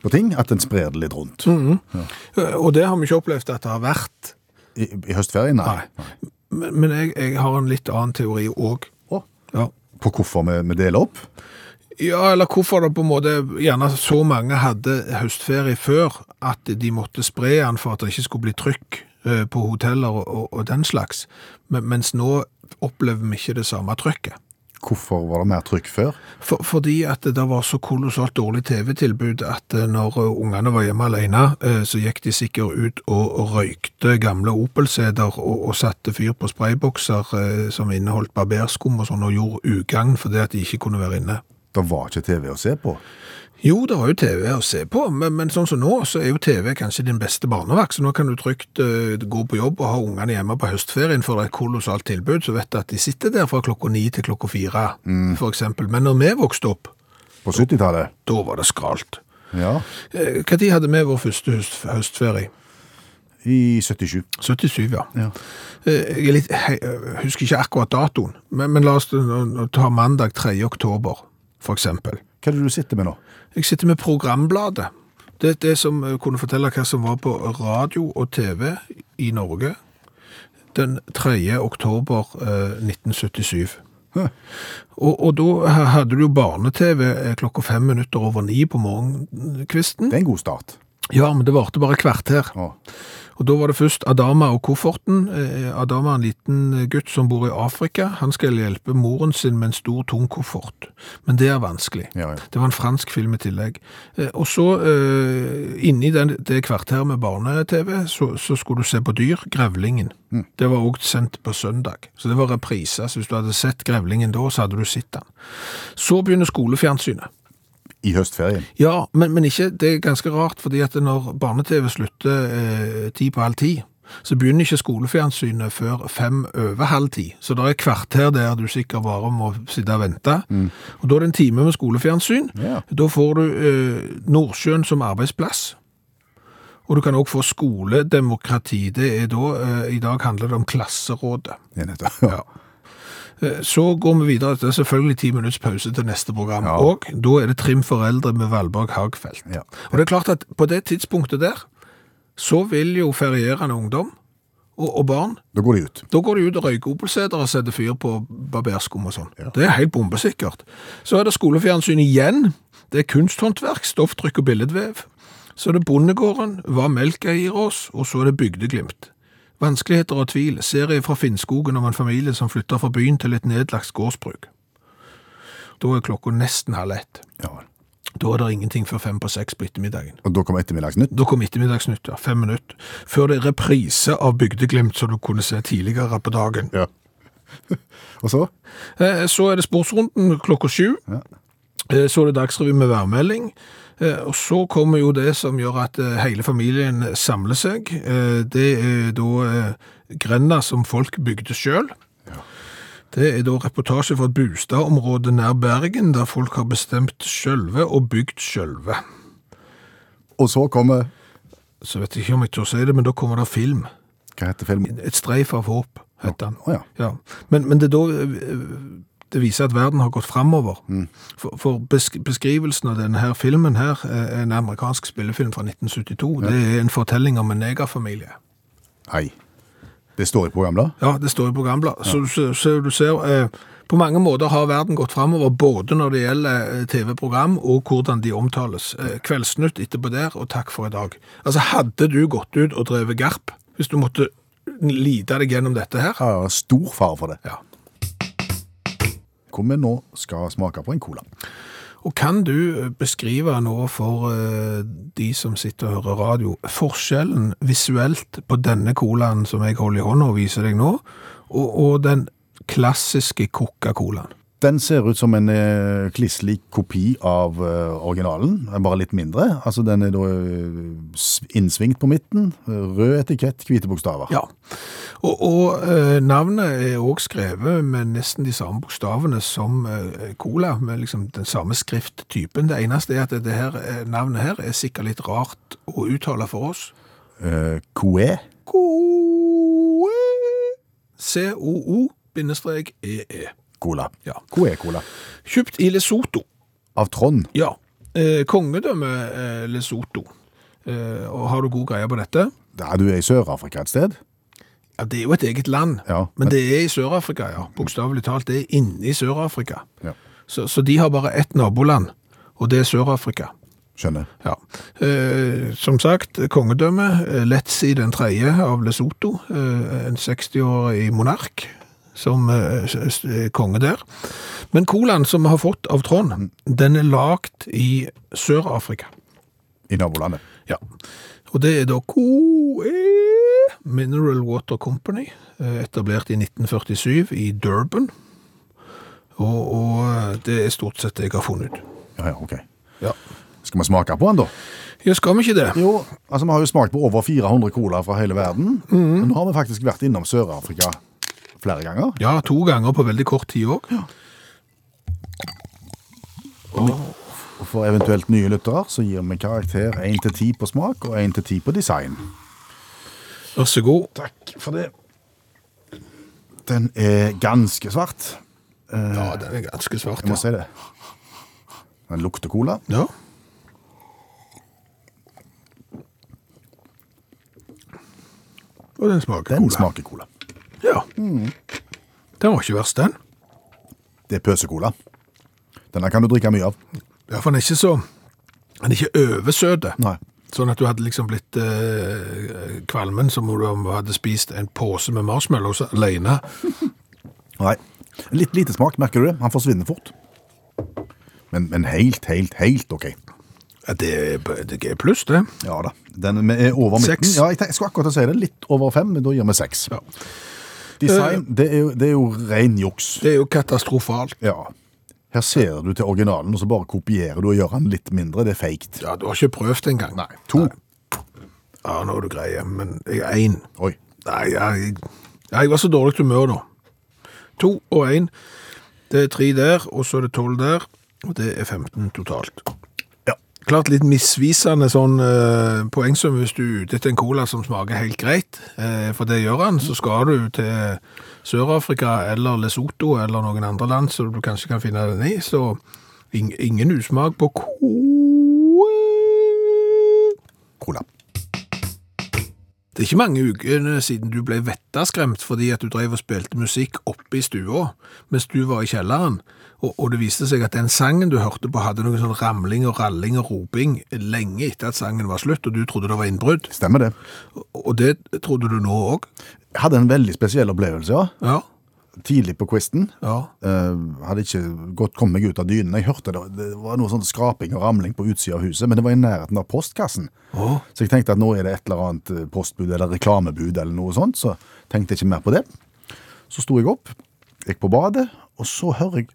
på ting. At en sprer det litt rundt.
Eh, Og det har vi ikke opplevd at det har vært.
I, I høstferien? Nei.
Nei. Men, men jeg, jeg har en litt annen teori òg.
Å,
Ja.
På hvorfor vi, vi deler opp?
Ja, eller hvorfor det på en måte gjerne så mange hadde høstferie før at de måtte spre den for at det ikke skulle bli trykk eh, på hoteller og, og, og den slags. Men, mens nå opplever vi ikke det samme trykket.
Hvorfor var det mer trykk før?
For, fordi at det der var så kolossalt dårlig TV-tilbud at eh, når eh, ungene var hjemme alene, eh, så gikk de sikkert ut og, og røykte gamle Opel-seder og, og satte fyr på spraybokser eh, som inneholdt barberskum og sånn, og gjorde ugagn fordi at de ikke kunne være inne.
Det var ikke TV å se på.
Jo, det var jo TV å se på, men, men sånn som nå, så er jo TV kanskje din beste barnevakt, så nå kan du trygt eh, gå på jobb og ha ungene hjemme på høstferien for det er et kolossalt tilbud, så vet du at de sitter der fra klokka ni til klokka fire, for eksempel. Men når vi vokste opp,
På 70-tallet.
da var det skralt.
Ja.
Eh, Hva tid hadde vi vår første høst, høstferie?
I 77.
77, ja.
Ja.
Eh, Jeg er litt, he- eh, husker ikke akkurat datoen, men, men la oss nå- nå ta mandag 3. oktober, for eksempel.
Hva er det du sitter med nå?
Jeg sitter med programbladet. Det er det som eh, kunne fortelle hva som var på radio og TV i Norge den 3. oktober eh, 1977.
Hæ.
Og, og da ha- hadde du jo barne-TV eh, klokka fem minutter over ni på morgenkvisten.
Det er en god start.
Ja, men det varte bare kvarter.
Å.
Og da var det først Adama og kofferten. Eh, Adama er en liten gutt som bor i Afrika. Han skal hjelpe moren sin med en stor, tung koffert. Men det er vanskelig.
Ja, ja.
Det var en fransk film i tillegg. Eh, Og så, eh, inni den, det kvarteret med barne-TV, så, så skulle du se på dyr, Grevlingen.
Mm.
Det var også sendt på søndag. Så det var repriser. Så hvis du hadde sett Grevlingen da, så hadde du sett den. Så begynner skolefjernsynet.
I høstferien.
Ja, men, men ikke, det er ganske rart, fordi at når barne-TV slutter eh, ti på halv ti, så begynner ikke skolefjernsynet før fem over halv ti. Så det er et kvarter der du sikkert bare må sitte og vente. Og da er det en time med skolefjernsyn.
Ja.
Da får du eh, Nordsjøen som arbeidsplass. Og du kan også få skoledemokrati. Det er da, eh, I dag handler det om klasserådet.
Ja, nettopp. Ja.
Eh, Så går vi videre. Det er selvfølgelig ti minutts pause til neste program.
Ja.
Og da er det Trim foreldre med Valborg Hagfeldt.
Ja.
Og det er klart at på det tidspunktet der, så vil jo ferierende ungdom og, og barn,
Da går de ut.
da går de ut og røyker opelseter og setter fyr på barberskum og sånn. Det er helt bombesikkert. Så er det skolefjernsyn igjen. Det er kunsthåndverk, stofftrykk og billedvev. Så er det Bondegården, Hva melka gir oss, og så er det Bygdeglimt. Vanskeligheter og tvil, serie fra Finnskogen om en familie som flytter fra byen til et nedlagt gårdsbruk. Da er klokka nesten halv ett.
Ja. vel.
Da er det ingenting før fem på seks på ettermiddagen.
Og da kommer ettermiddagsnytt.
Da kom ettermiddagsnytt, ja, fem minutter. Før det er reprise av Bygdeglimt, som du kunne se tidligere på dagen.
Ja. [laughs] og så?
Eh, Så er det sportsrunden klokka sju. Eh, Så er det Dagsrevy med værmelding. Eh, Og så kommer jo det som gjør at eh, hele familien samler seg. Eh, Det er da eh, grenda som folk bygde sjøl. Det er da reportasje fra et bostadområde nær Bergen, der folk har bestemt sjølve og bygd sjølve.
Og så kommer
Så vet jeg ikke om jeg tør si det, men da kommer det film.
Hva heter filmen?
Et streif av håp, heter han.
Å ja.
Men, men det er da eh, det viser at verden har gått framover.
Mm.
For, for besk beskrivelsen av denne her filmen her, eh, en amerikansk spillefilm fra 1972, det er en fortelling om en negerfamilie.
Nei. Det står i programbladet.
Ja, det står i programbladet. Så, du ser- så du ser, eh, på mange måter har verden gått framover, både når det gjelder eh, TV-program og hvordan de omtales. Eh, Kveldsnytt etterpå der, og takk for i dag. Altså, hadde du gått ut og drevet garp, hvis du måtte lide deg gjennom dette her,
Ja, ja, stor fare for det.
ja,
Hvor vi nå skal smake på en cola.
Og kan du eh, beskrive nå for eh, de som sitter og hører radio, forskjellen visuelt på denne colaen som jeg holder i hånda og viser deg nå, og, og den klassiske Coca-Colaen?
Den ser ut som en eh, klisslik kopi av eh, originalen, eh, bare litt mindre. Altså, den er da eh, s- innsvingt på midten, eh, rød etikett, hvite bokstaver.
Ja. Og, og eh, navnet er også skrevet med nesten de samme bokstavene som eh, cola, med liksom den samme skrifttypen. Det eneste er at det her, eh, navnet her er sikkert litt rart å uttale for oss.
Eh, Coe.
C-O-O-E-E.
Cola.
Ja.
Coe-cola.
E Kjøpt i Lesotho.
Av Trond.
Ja. Eh, kongedømme eh, Lesotho. Eh, og har du god greie på dette?
Ja, du er i Sør-Afrika et sted?
Ja, det er jo et eget land,
Ja,
men
men-
det er i Sør-Afrika, ja. Bokstavelig talt, det er inne i Sør-Afrika.
Ja.
Så, så de har bare ett naboland, og det er Sør-Afrika.
Skjønner.
Ja. Eh, som sagt, kongedømme, eh, Letsi den tredje av Lesotho, eh, en 60-årig monark som eh, s- s- er konge der. Men colaen som vi har fått av Trond, den er lagt i Sør-Afrika.
I nabolandet.
Ja. Og det er da Koe Mineral Water Company, eh, etablert i 1947 i Durban. Og, og eh, det er stort sett det jeg har funnet ut.
Ja, ja, ok.
Ja.
Skal vi smake på den, da?
Ja, skal vi ikke det?
Jo, altså vi har jo smakt på over 400 cola fra hele verden. Men nå har vi faktisk vært innom Sør-Afrika flere ganger.
Ja, to ganger på veldig kort tid òg.
Og for eventuelt nye lyttere så gir vi karakter 1 til 10 på smak og 1 til 10 på design.
Vær så god.
Takk for det. Den er ganske svart.
Ja, den er ganske svart.
Jeg må
Ja.
si det. Den lukter cola.
ja. Og den smaker
Den
cola.
smaker cola.
Ja. Den var ikke verst, den.
Det er pøsecola. Denne kan du drikke mye av.
Ja, for den er ikke så Den er ikke oversøte.
Nei.
Sånn at du hadde liksom blitt eh, kvalmen som om du hadde spist en pose med marshmallows alene.
Nei. Litt lite smak, merker du det? Han forsvinner fort. Men, men helt, helt, helt ok.
Ja, Det er det er pluss, det.
Ja da. Den er over midten.
Seks.
Ja, jeg, tenk- jeg skulle akkurat til å si det. Litt over fem, men da gir vi seks.
Ja.
Design, det er, jo, det er jo ren juks.
Det er jo katastrofalt.
Ja. Her ser du til originalen, og så bare kopierer du og gjør den litt mindre. Det er feigt.
Ja, Du har ikke prøvd engang. Nei.
To.
Ja, nå er du greie, men én
Oi.
Nei, jeg, jeg, jeg var så dårlig til humør nå. To og én. Det er tre der, og så er det tolv der. Og det er 15 totalt.
Ja.
Klart litt misvisende sånn eh, poengsum hvis du er ute etter en cola som smaker helt greit, eh, for det gjør han, så skal du til Sør-Afrika eller Lesotho eller noen andre land som du kanskje kan finne den i, så ing- ingen usmak på cola.
Cola.
Det er ikke mange ukene siden du ble vettaskremt fordi at du drev og spilte musikk oppe i stua mens du var i kjelleren, og, og det viste seg at den sangen du hørte på hadde noe sånn ramling og ralling og roping lenge etter at sangen var slutt, og du trodde det var innbrudd.
Stemmer det.
Og- Og det trodde du nå òg?
Jeg hadde en veldig spesiell opplevelse, ja.
Ja.
Tidlig på quizen.
ja.
Eh, hadde ikke godt kommet meg ut av dynen. Jeg hørte det, det var noe sånn skraping og ramling på utsida av huset, men det var i nærheten av postkassen.
Å.
Så jeg tenkte at nå er det et eller annet eh, postbud eller reklamebud eller noe sånt, så tenkte jeg ikke mer på det. Så sto jeg opp, gikk på badet, og så hører jeg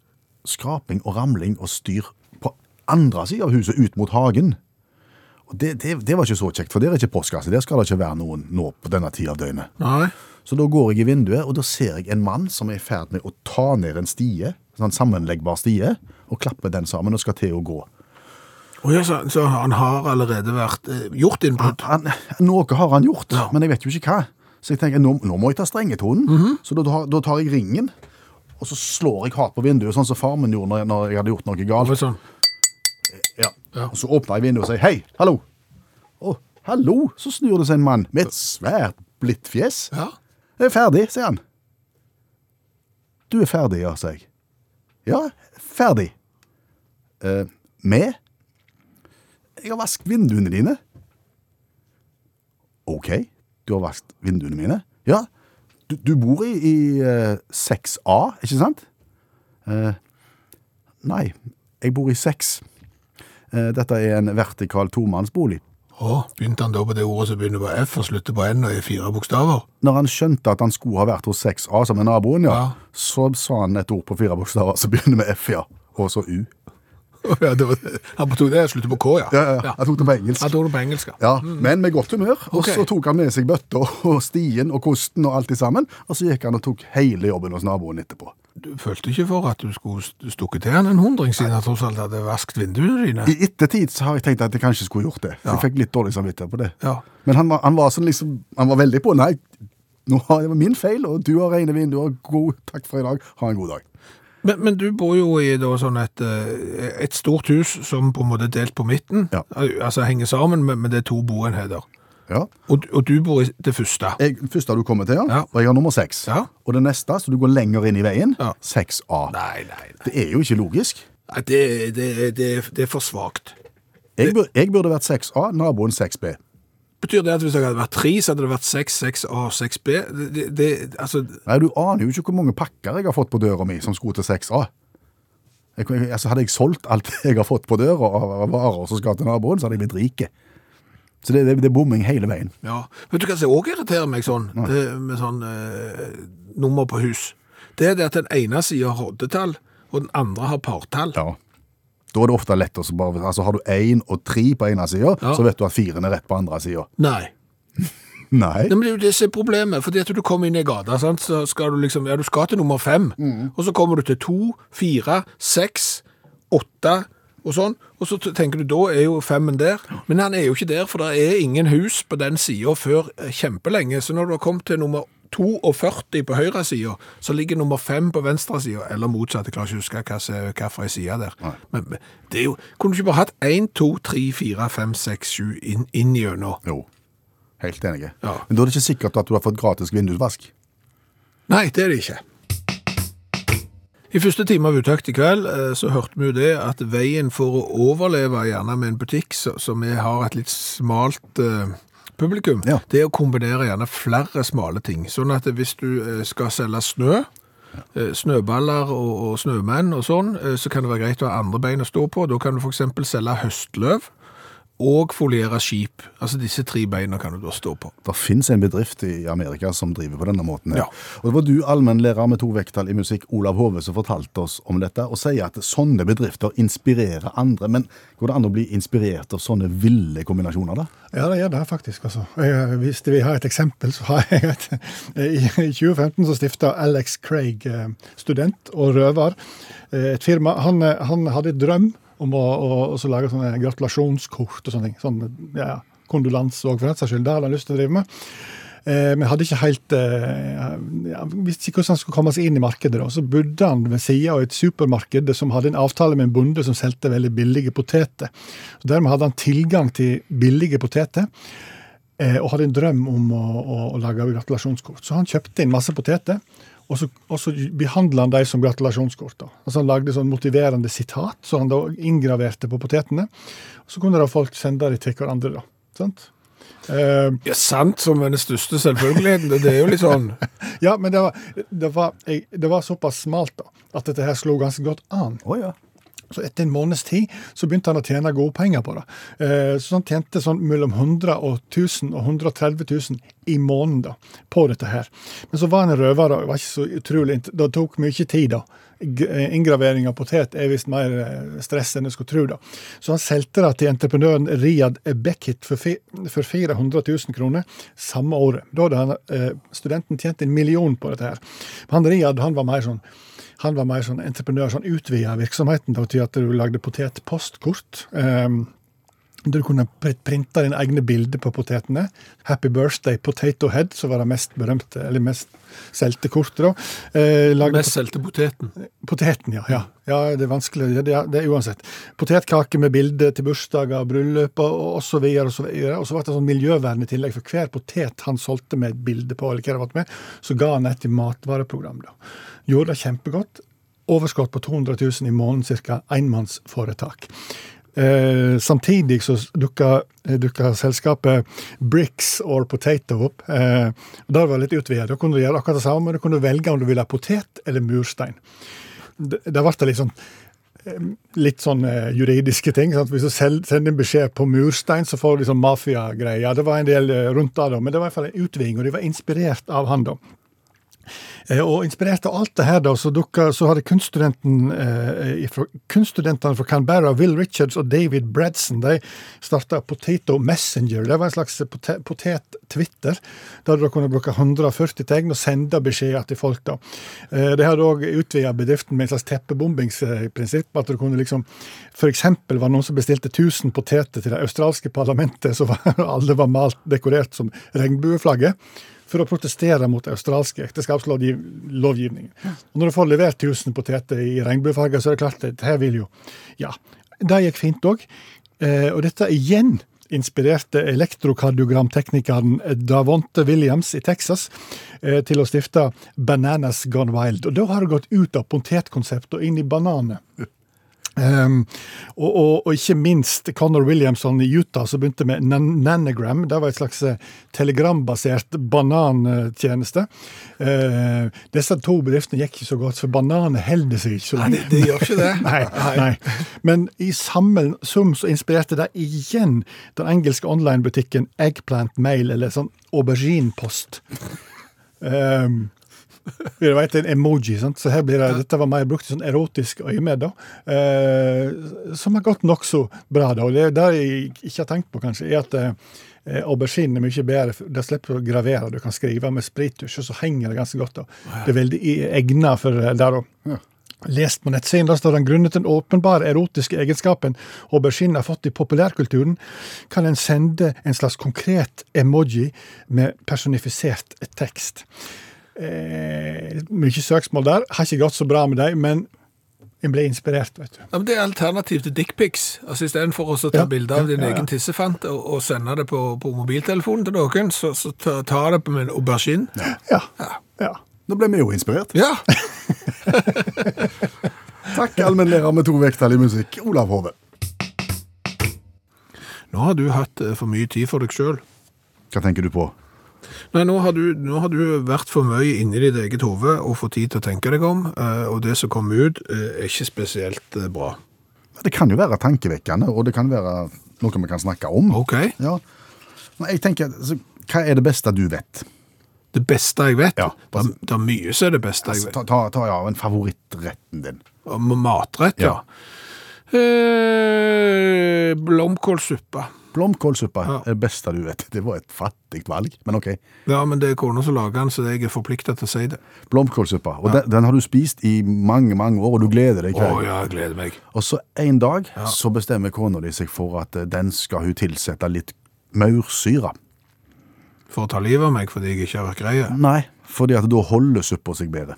skraping og ramling og styr på andre sida av huset, ut mot hagen. Og det, det, det var ikke så kjekt, for der er ikke postkasse. Der skal det ikke være noen nå på denne tida av døgnet.
Nei.
Så da går jeg i vinduet, og da ser jeg en mann som er i ferd med å ta ned en stie, sånn sammenleggbar stie, og klapper den sammen og skal til å gå.
Og ja, så, så han har allerede vært eh, gjort innbrudd?
Han, noe har han gjort,
Ja.
men jeg vet jo ikke hva. Så jeg tenker, nå, nå må jeg ta strengetonen.
Mhm.
Så da, tar- da tar jeg ringen, og så slår jeg hardt på vinduet, sånn som far min gjorde når, jeg- når jeg hadde gjort noe
Og
galt.
sånn.
Ja.
Ja.
Og så åpner jeg vinduet og sier, hei, hallo. Å, hallo, så snur det seg en mann med et svært blitt fjes.
Ja.
Jeg er ferdig, sier han. Du er ferdig, ja, sier jeg. Ja, ferdig. Eh, med? Jeg har vasket vinduene dine. Ok, du har vasket vinduene mine. Ja, du, du bor i, i eh, 6A, ikke sant? Eh, nei, jeg bor i 6. Eh, dette er en vertikal tomannsbolig.
Å, begynte han da på det ordet som begynner på F og slutter på N og er fire bokstaver? [laughs]
Når han skjønte at han skulle ha vært hos 6A som er naboen, ja,
Ja.
så sa han et ord på fire bokstaver, så begynner med F, ja, og så U.
Å Ja, det var, han tok det, slutter på K, ja.
Ja, ja, jeg tok det på engelsk.
Han tok det på engelsk, ja. Mm.
Ja, men med godt humør, og
Ok.
så tok han med seg bøtta og stien og kosten og alt det sammen, og så gikk han og tok hele jobben hos naboen etterpå.
Du følte ikke for at du skulle st- stukke til han en hundring siden han tross alt hadde vasket vinduene dine?
I ettertid så har jeg tenkt at jeg kanskje skulle gjort det. for Jeg fikk litt dårlig samvittighet på det.
Ja.
Men han var, han var sånn liksom, han var veldig på, nei, nå har det var min feil, og du har rene vinduer, god takk for i dag, ha en god dag.
Men, men du bor jo i da sånn et, eh, et stort hus som på en måte er delt på midten,
Ja.
Al- altså henger sammen, men, men det er to boenheter.
Ja.
Og, du- og du bor i det første.
Jeg, den første du kommer til, ja.
Ja.
Og jeg har nummer seks.
Ja.
Og det neste, så du går lenger inn i veien,
Ja.
6A.
Nei, nei, nei.
Det er jo ikke logisk.
Nei, Det, det, det, det er for svakt.
Jeg, bur, jeg burde vært 6A, naboen 6B.
Betyr det at hvis jeg hadde vært tre, så hadde det vært seks, seks A og seks B? Det, det, det, altså,
Nei, du aner jo ikke hvor mange pakker jeg har fått på døra mi som skulle til 6A. Jeg, jeg, altså, hadde jeg solgt alt [laughs] jeg har fått på døra av av varer som skal til naboen, så hadde jeg blitt rike. Så det, det, det er bomming hele veien.
ja. Vet du hva som òg irriterer meg sånn, det, med sånn eh, nummer på hus? Det er det at den ene sida har oddetall, og den andre har partall.
Ja. Da er det ofte lett å så bare Altså, har du én og tre på ene sida,
Ja.
så vet du at firen er rett på andre sida.
Nei.
Nei.
Nei, men Det er jo det som er problemet. fordi at du kommer inn i gata, sant? så skal du liksom Ja, du skal til nummer fem. Og så kommer du til to, fire, seks, åtte og sånn. Og så t- tenker du da er jo femmen der. Men han er jo ikke der, for det er ingen hus på den sida før eh, kjempelenge. Så når du har kommet til nummer 42 på høyresida, så ligger nummer fem på venstresida. Eller motsatt, jeg klarer ikke å huske hva som er hva for ei side der. Men, men det er jo Kunne du ikke bare hatt én, to, tre, fire, fem, seks, sju inn, inn gjennom?
Jo. Helt enig.
Ja.
Men da er det ikke sikkert at du har fått gratis vindusvask.
Nei, det er det ikke. I første time av Utakt i kveld eh, så hørte vi jo det at veien for å overleve gjerne med en butikk så- som vi har et litt smalt eh, publikum,
Ja.
det er å kombinere gjerne flere smale ting. Sånn at hvis du eh, skal selge snø, eh, snøballer og, og snømenn og sånn, eh, så kan det være greit å ha andre bein å stå på. Da kan du f.eks. selge høstløv og foliere skip. Altså disse tre beina kan du da stå på.
Det finnes en bedrift i Amerika som driver på denne måten. her.
Ja.
Og Det var du, allmennlærer med to vekttall i musikk, Olav Hove, som fortalte oss om dette, og sier at sånne bedrifter inspirerer andre. Men går det an å bli inspirert av sånne ville kombinasjoner, da?
Ja, det gjør det faktisk. altså. Jeg, hvis vi har et eksempel, så har jeg et I, i 2015 så stifta Alex Craig, eh, student og røver, eh, et firma. Han, eh, han hadde et drøm om å, å, å så lage sånne gratulasjonskort og sånne ting. Sånn, ja, Kondolanse òg, for den saks skyld. Det hadde han lyst til å drive med. Eh, men hadde ikke helt eh, ja, Visste ikke hvordan han skulle komme seg inn i markedet. da. Så bodde han ved sida av et supermarked som hadde en avtale med en bonde som solgte veldig billige poteter. Så Dermed hadde han tilgang til billige poteter. eh, Og hadde en drøm om å, å, å lage gratulasjonskort. Så han kjøpte inn masse poteter, og så, og så behandla han dem som gratulasjonskort. Da. Altså Han lagde sånn motiverende sitat som han da inngraverte på potetene. Og så kunne da folk sende dem til hverandre. da. Sant? Eh,
Ja, sant som er den største selvfølgeligheten. Det er jo litt sånn
[laughs] Ja, men det var, det, var, jeg, det var såpass smalt da, at dette her slo ganske godt an.
Å ja.
Så etter en måneds tid så begynte han å tjene gode penger på det. Eh, Så han tjente sånn mellom 100 og 1000 og 130 000 i måneden da, på dette her. Men så var han en røver, og det var ikke så utrolig int- Det tok mye tid, da. G- eh, Inngravering av potet er visst mer eh, stress enn du skulle tro, da. Så han solgte det til entreprenøren Riyad Beckett for, fi- for 400 000 kroner samme året. Da hadde han, eh, studenten tjent en million på dette her. Han Riyad han var mer sånn han var mer sånn entreprenør, sånn utvida virksomheten da, til at du lagde potetpostkort. Um, du kunne printe dine egne bilder på potetene. Happy birthday potato head, som var det mest berømte, eller mest solgte kortet. da. Eh, lagde
Mest solgte poteten.
Poteten, ja, ja. Ja, det er vanskelig. Ja, det, er, det er uansett. Potetkake med bilde til bursdager, bryllup og og så videre. Og så videre. Og så ble det sånn miljøvern i tillegg, for hver potet han solgte med et bilde på, eller hva det var med, så ga han et i matvareprogram. da. Gjorde det kjempegodt. Overskudd på 200 000 i måneden, ca. enmannsforetak. Eh, samtidig så dukka, eh, dukka selskapet Bricks or Potato opp. Eh, og der var det litt utvidet. Da kunne du gjøre akkurat det samme, men du kunne velge om du ville ha potet eller murstein. Det- Der ble det litt sånn eh, Litt sånn eh, juridiske ting. Sant? Hvis du sel- sender en beskjed på murstein, så får du liksom mafiagreier. Det var en del eh, rundt det, da, men det var i hvert fall en utviding, og de var inspirert av han, da. Eh, Og inspirert av alt det her, da, så, dukka, så hadde kunststudenten, eh, fra, kunststudentene fra Canberra, Will Richards og David Bradson, de starta Potato Messenger. Det var en slags pote- potet-twitter, der du da kunne bruke 140 tegn og sende beskjeder til folk. da. Eh, de hadde òg utvida bedriften med et slags teppebombingsprinsipp. at du kunne liksom, for eksempel var det noen som bestilte 1000 poteter til det australske parlamentet, så var, [laughs] alle var malt dekorert som regnbueflagget for å protestere mot australsk ekteskapslovgivning. Og når du får levert 1000 poteter i regnbuefarger, så er det klart at her vil jo Ja. Det gikk fint òg. Eh, og dette igjen inspirerte elektrokardiogramteknikeren Davonte Williams i Texas eh, til å stifte Bananas Gone Wild. Og Da har det gått ut av potetkonseptet og inn i bananer. Ehm, og, og, og ikke minst Connor Williamson i Utah, som begynte med nan Nanogram. Det var et slags eh, telegrambasert banantjeneste. Eh, disse to bedriftene gikk ikke så godt, for bananer holder seg ikke så lenge.
Det gjør ikke [laughs] det.
Nei, nei. Men i samme sum så inspirerte det igjen den engelske onlinebutikken Eggplant Mail, eller sånn auberginepost. Um, du vet, en emoji, sant? så her blir det, dette var mer brukt i sånn erotisk øyemed, da. Eh, som har gått nokså bra, da. Og det, det jeg ikke har tenkt på, kanskje, er at eh, aubergine er mye bedre. for Det slipper du å gravere. Du kan skrive med sprittusj, og så henger det ganske godt. da. Det er veldig i- egnet for eh, der òg. Lest på nettsiden da står den grunnet den åpenbare erotiske egenskapen aubergine har fått i populærkulturen, kan en sende en slags konkret emoji med personifisert tekst. Eh, mye søksmål der. Har ikke gått så bra med dem, men en ble inspirert, vet du.
Ja, men det er alternativ til dickpics. Altså, Istedenfor å så ta
Ja,
bilde av
ja,
din
ja, ja.
egen tissefant og, og sende det på, på mobiltelefonen til noen, så, så ta, ta det på min aubergine. Ja.
Ja. ja.
Nå ble vi jo inspirert.
ja.
Takk, allmennlærer med to vekttall i musikk, Olav Hove.
[laughs] Nå har du hatt eh, for mye tid for deg sjøl.
Hva tenker du på?
Nei, nå har, du, nå har du vært for mye inni ditt eget hode og fått tid til å tenke deg om, eh, og det som kom ut, eh, er ikke spesielt eh, bra.
Det kan jo være tankevekkende, og det kan være noe vi kan snakke om.
OK.
Ja. Nei, jeg tenker, altså, Hva er det beste du vet?
Det beste jeg vet
Ja.
det, er- det er mye som er det beste jeg
Altså,
vet.
ta, ta, ta ja, en favorittretten din.
Om Matrett, ja. Eh, blomkålsuppe.
Blomkålsuppe
Ja.
er det beste du vet. Det var et fattig valg, men OK.
Ja, men det er kona som lager den, så jeg er forplikta til å si det.
Blomkålsuppe. Og den, den har du spist i mange, mange år, og du gleder deg
Å
hver
ja, jeg gleder meg.
Og så en dag så bestemmer kona di seg for at eh, den skal hun tilsette litt maursyre.
For å ta livet av meg fordi jeg ikke har vært grei.
Nei, fordi at da holder suppa seg bedre.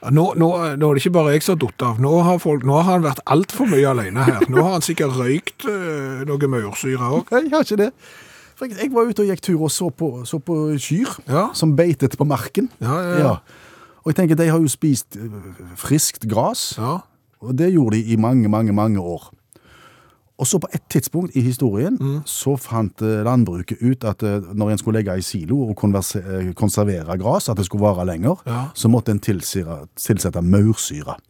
Ja, Nå, nå, nå er det ikke bare jeg som har datt av. Nå har, folk, nå har han vært altfor mye alene her. Nå har han sikkert røykt øh, noe maursyre òg.
Nei, jeg har ikke det. For jeg, jeg var ute og gikk tur og så på, så på kyr
Ja.
som beitet på marken.
Ja, ja, ja.
Og jeg tenker, de har jo spist eh, friskt gras,
Ja.
og det gjorde de i mange, mange, mange år. Og så på et tidspunkt i historien
Mm.
så fant eh, landbruket ut at eh, når en skulle legge i silo og konverse- eh, konservere gras, at det skulle vare lenger,
Ja.
så måtte en tilsire- tilsette maursyre.
Ja,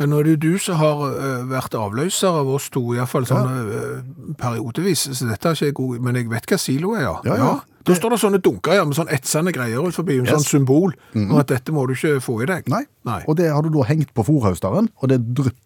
Eh, Nå er det jo du som har øh, vært avløser av oss to, iallfall sånn øh, periodevis. Så dette er ikke jeg god i, men jeg vet hva silo er, ja.
Ja, ja.
Da står det sånne dunker ja, med sånn etsende greier ut forbi, en sånn symbol om at dette må du ikke få i deg.
Mhm. Nei.
Nei.
Og det har du da hengt på fòrhausteren, og det drypper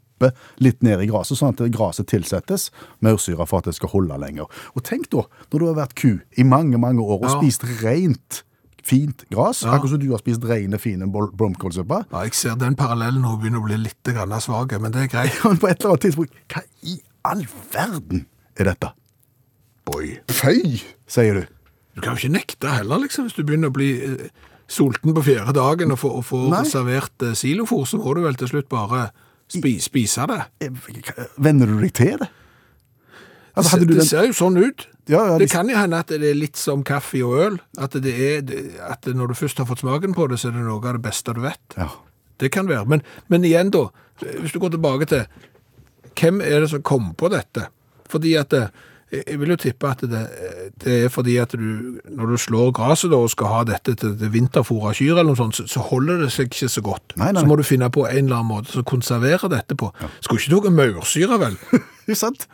litt ned i gresset, sånn at gresset tilsettes maursyre for at det skal holde lenger. Og tenk da, når du har vært ku i mange, mange år og
Ja.
spist rent, fint gress,
Ja.
akkurat som du har spist rene, fine bol- blomkålsuppe,
Ja, jeg ser den parallellen nå begynner å bli litt grann svag, men det er greit.
men på et eller annet tidspunkt, hva i all verden er dette?
Boy.
Føy, sier du.
Du kan jo ikke nekte heller, liksom, hvis du begynner å bli eh, sulten på fjerde dagen og få, og få
Nei.
servert eh, silofôr, så må du vel til slutt bare spi, spise det.
Eh, hva- Venner du deg til det? Altså, hadde du
det
den...
ser jo sånn ut.
Ja, ja,
det
de-
kan jo hende at det er litt som kaffe og øl, at, det er, det- at når du først har fått smaken på det, så er det noe av det beste du vet.
Ja.
Det kan være, men, men igjen da, hvis du går tilbake til, hvem er det som kom på dette? Fordi at, eh, jeg vil jo tippe at det, det er fordi at du, når du slår graset da, og skal ha dette til, til vinterfôr av kyr eller noe sånt, så, så holder det seg ikke så godt.
Nei, nei.
Så må du finne på en eller annen måte som konserverer dette på. Skulle ikke noe maursyre
[laughs]
vel?
Ikke sant?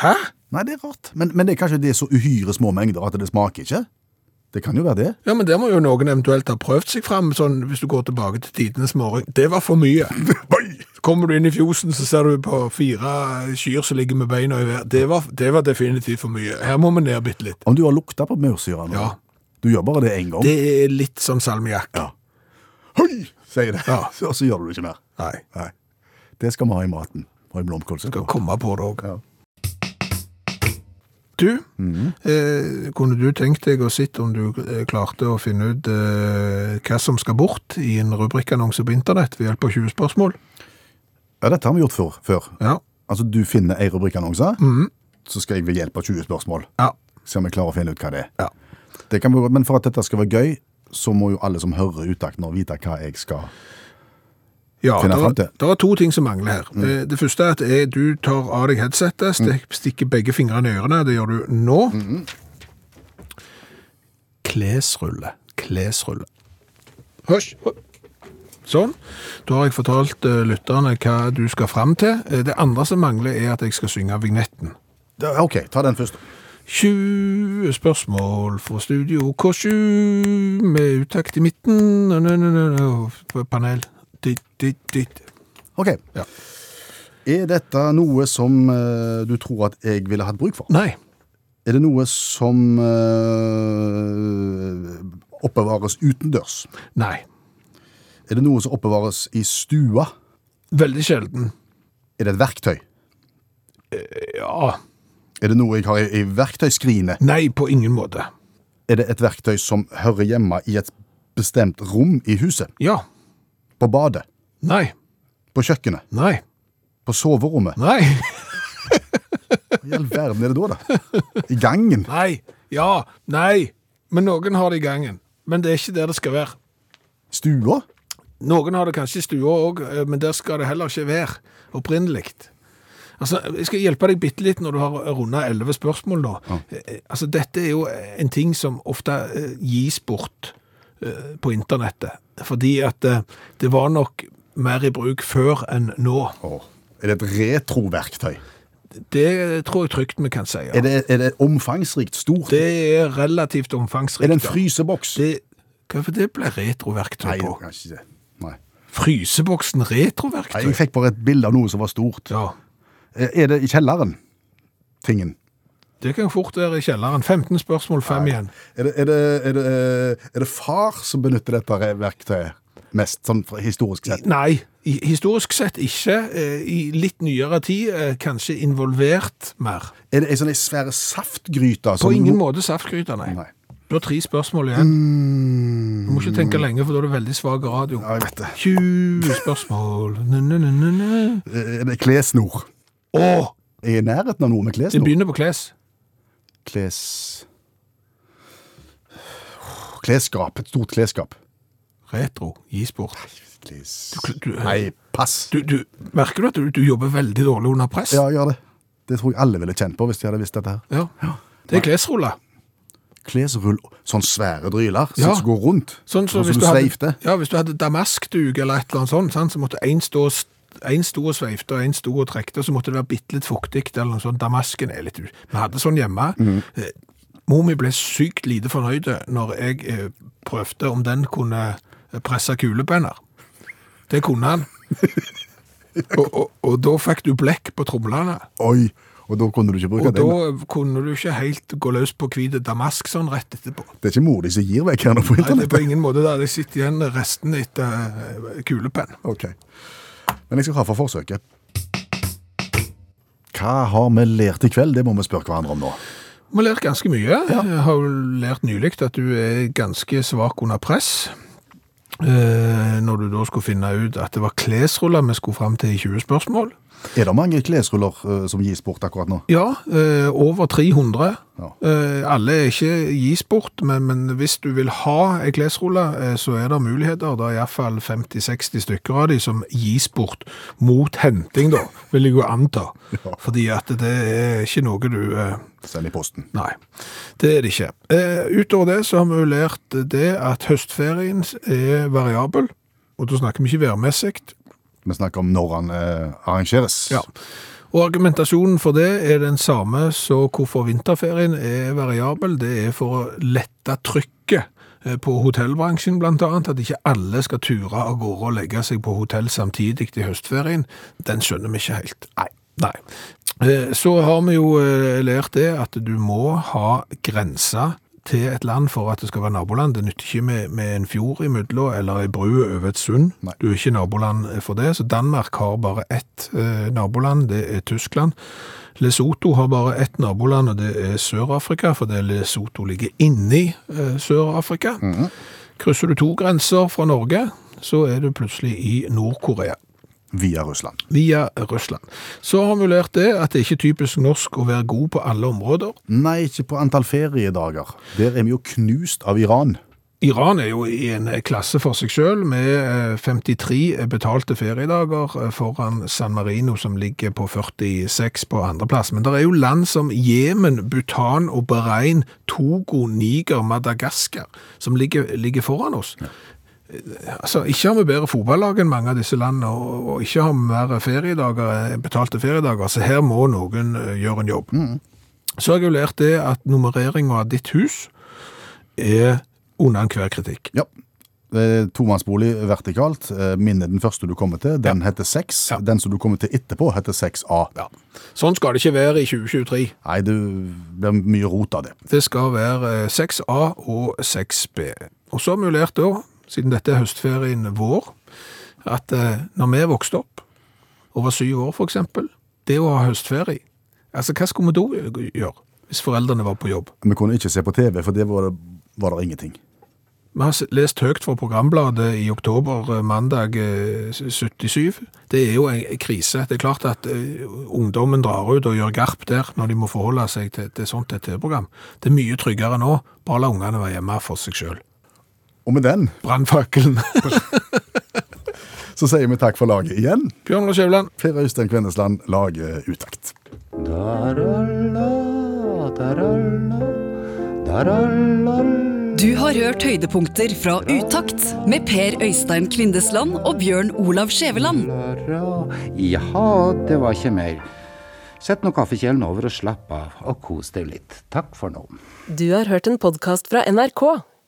Hæ?
Nei, det er rart. Men, men det er kanskje det er så uhyre små mengder at det smaker ikke? Det kan jo være det.
Ja, men der må jo noen eventuelt ha prøvd seg frem, sånn hvis du går tilbake til tidenes morgen. Det var for mye. Oi! Kommer du inn i fjosen, så ser du på fire kyr som ligger med beina i hver. Det var, det var definitivt for mye. Her må vi ned bitte litt.
Om du har lukta på maursyra nå?
Ja.
Du gjør bare det én gang.
Det er litt som salmiakk.
Høy, sier det.
Ja.
Så- Og så gjør du det ikke mer.
Nei,
Nei. Det skal vi ha i maten. Og i
skal
blomkålsuppe.
komme på det òg. Du, eh, kunne du tenkt deg å sitte om du eh, klarte å finne ut eh, hva som skal bort i en rubrikkannonse på internett ved hjelp av 20 spørsmål?
Ja, dette har vi gjort før. før.
Ja. Mhm.
Altså, du finner ei rubrikkannonse, så skal jeg ved hjelp av 20 spørsmål
Ja.
se om jeg klarer å finne ut hva det er.
Ja.
Det kan vi godt, Men for at dette skal være gøy, så må jo alle som hører utakt nå vite hva jeg skal
Ja,
Finner jeg frem
det
til.
er to ting som mangler her. Eh, Det første er at eh, du tar av deg headsetet, stek, stikker begge fingrene i ørene, det gjør du nå. Klesrulle, klesrulle. Hørs! Sånn. Da har jeg fortalt eh, lytterne hva du skal frem til. Eh, Det andre som mangler er at jeg skal synge vignetten.
Ja, OK, ta den først.
20 spørsmål fra Studio K7 med uttakt i midten. Nå, nå, nå, nå, nå, Panel. Ditt, ditt, ditt.
OK.
Ja.
Er dette noe som eh, du tror at jeg ville hatt bruk for?
Nei.
Er det noe som eh, oppbevares utendørs?
Nei.
Er det noe som oppbevares i stua?
Veldig sjelden.
Er det et verktøy?
Ja.
Er det noe jeg har i, i verktøyskrinet?
Nei, på ingen måte.
Er det et verktøy som hører hjemme i et bestemt rom i huset?
Ja.
På badet?
Nei.
På kjøkkenet?
Nei.
På soverommet?
Nei.
Hva i all verden er det da, da? I gangen?
Nei. Ja. Nei. Men noen har det i gangen. Men det er ikke der det skal være.
Stua?
Noen har det kanskje i stua òg, men der skal det heller ikke være. Opprinnelig. Altså, jeg skal hjelpe deg bitte litt når du har runda elleve spørsmål nå. Eh, Altså, dette er jo en ting som ofte eh, gis bort eh, på internettet. Fordi at eh, det var nok mer i bruk før enn nå.
Åh, Er det et retroverktøy?
Det tror jeg trygt vi kan si. Ja.
Er, det, er det omfangsrikt stort?
Det er relativt
er
omfangsrikt.
det en
ja.
fryseboks?
Det, hva for det ble retroverktøy
Nei, det
på?
kan ikke det. Nei.
Fryseboksen
Nei,
retroverktøy?
jeg fikk bare et bilde av noe som var stort.
Ja,
Er det i kjelleren? Tingen.
det kan fort være i kjelleren. 15 spørsmål, 5 igjen.
Er det, er, det, er, det, er det far som benytter dette verktøyet mest, sånn fra- historisk sett?
Nei, i- historisk sett ikke. Eh, I litt nyere tid eh, kanskje involvert mer.
Er det ei sånn ei svær saftgryte?
På ingen måte saftgryte, nei.
Mm. Nei. Mm.
Du har tre spørsmål igjen. Du må ikke tenke lenge, for da er det veldig svag radio.
Ja, jeg vet det.
20 spørsmål. Nå, nå, nå, nå, nå.
Er det Eh, klessnor?
Åh,
Er jeg i nærheten av noe med
det
klessnor?
begynner på kles.
Kles... Klesskap. Et stort klesskap.
Retro, gis bort.
Kles...
du-
Nei, pass.
Du, du, merker du at du, du jobber veldig dårlig under press?
Ja, gjør det. Det tror jeg alle ville kjent på hvis de hadde visst dette her.
Ja. Det er klesruller.
Klesrull, sånn svære dryler
Ja.
sånn som går rundt.
Sånn som hvis
som
du
du sveifte.
hadde, ja, hvis du hadde damaskduk eller et eller annet sånt, sant, så måtte en stå og s- en sto og sveifte, og en sto og trekte, og så måtte det være bitte litt fuktig, eller noe sånt. Damasken er litt ut. Vi hadde sånn hjemme. Eh, Mor mi ble sykt lite fornøyde når jeg eh, prøvde om den kunne eh, presse kulepenner. Det kunne han. og, og, og da fikk du blekk på tromlene.
Oi, og da kunne du ikke bruke
Og
den.
da eh, kunne du ikke helt gå løs på hvite damask sånn rett etterpå.
Det er ikke mor di som gir vekk her nå på
Nei, det er
internettet.
på ingen måte der. Jeg sitter igjen resten etter eh, kulepenn.
[laughs] Ok. Men jeg skal ha for forsøket. Hva har vi lært i kveld? Det må vi spørre hverandre om nå.
Du har lært ganske mye. Jeg har jo lært nylig at du er ganske svak under press. Eh, når du da skulle finne ut at det var klesruller vi skulle fram til i 20 spørsmål.
Er det mange klesruller eh, som gis bort akkurat nå?
Ja, eh, over 300.
Ja.
Eh, alle er ikke gis bort, men, men hvis du vil ha ei klesrulle, eh, så er det muligheter. Det er iallfall 50-60 stykker av de som gis bort mot henting, da, vil jeg jo anta.
Ja.
Fordi at det er ikke noe du eh,
Send i posten.
Nei, det er det ikke. Eh, utover det så har vi jo lært det at høstferien er variabel, og da snakker vi ikke værmessig.
Vi snakker om når han eh, arrangeres.
Ja. Og argumentasjonen for det er den samme, så hvorfor vinterferien er variabel, det er for å lette trykket eh, på hotellbransjen blant annet, at ikke alle skal ture av gårde og legge seg på hotell samtidig i høstferien. Den skjønner vi ikke helt. Nei. Nei. Eh, Så har vi jo eh, lært det at du må ha grenser til et land for at det skal være naboland. Det nytter ikke med, med en fjord imellom eller ei bru over et sund.
Nei.
Du er ikke naboland eh, for det. Så Danmark har bare ett eh, naboland, det er Tyskland. Lesotho har bare ett naboland, og det er Sør-Afrika, fordi Lesotho ligger inni eh, Sør-Afrika. Krysser du to grenser fra Norge, så er du plutselig i Nord-Korea.
via Russland.
via Russland. Så har vi lært det at det er ikke typisk norsk å være god på alle områder.
Nei, ikke på antall feriedager. Der er vi jo knust av Iran.
Iran er jo i en klasse for seg selv, med eh, 53 betalte feriedager eh, foran San Marino, som ligger på 46 på andreplass. Men det er jo land som Jemen, Bhutan og Bahrain, Togo, Niger, Madagaskar, som ligger, ligger foran oss. Eh, Altså, ikke har vi bedre fotballag enn mange av disse landene, og, og ikke har vi mer feriedager, eh, betalte feriedager, så her må noen eh, gjøre en jobb. Så har jeg jo lært det at nummereringen av ditt hus er under enhver kritikk.
Ja. Eh, Tomannsbolig vertikalt. Eh, Minne den første du kommer til. Den heter 6.
Ja.
Den som du kommer til etterpå, heter 6A.
Ja. Sånn skal det ikke være i 2023.
Nei, det blir mye rot av det.
Det skal være eh, 6A og 6B. Og så har vi jo lært da, siden dette er høstferien vår, at eh, når vi vokste opp, og var syv år for eksempel, det å ha høstferie, altså hva skulle vi da gjøre hvis foreldrene var på jobb?
Vi kunne ikke se på TV, for det var det, var det ingenting.
Vi har s- lest høyt fra programbladet i oktober eh, mandag eh, 77. Det er jo en krise. Det er klart at eh, ungdommen drar ut og gjør garp der når de må forholde seg til, til sånt et TV-program. Det er mye tryggere nå. Bare la ungene være hjemme for seg sjøl.
Og med den
Brannfakkelen. [laughs]
så sier vi takk for laget igjen.
Bjørn Lars Skjævland.
Per Øystein Kvindesland, laget Utakt.
Daralla, daralla, daralla.
Du har hørt høydepunkter fra Utakt med Per Øystein Kvindesland og Bjørn Olav Skjæveland.
Jaha, det var ikke mer. Sett nå kaffekjelen over og slapp av, og kos deg litt. Takk for nå.
Du har hørt en podkast fra NRK.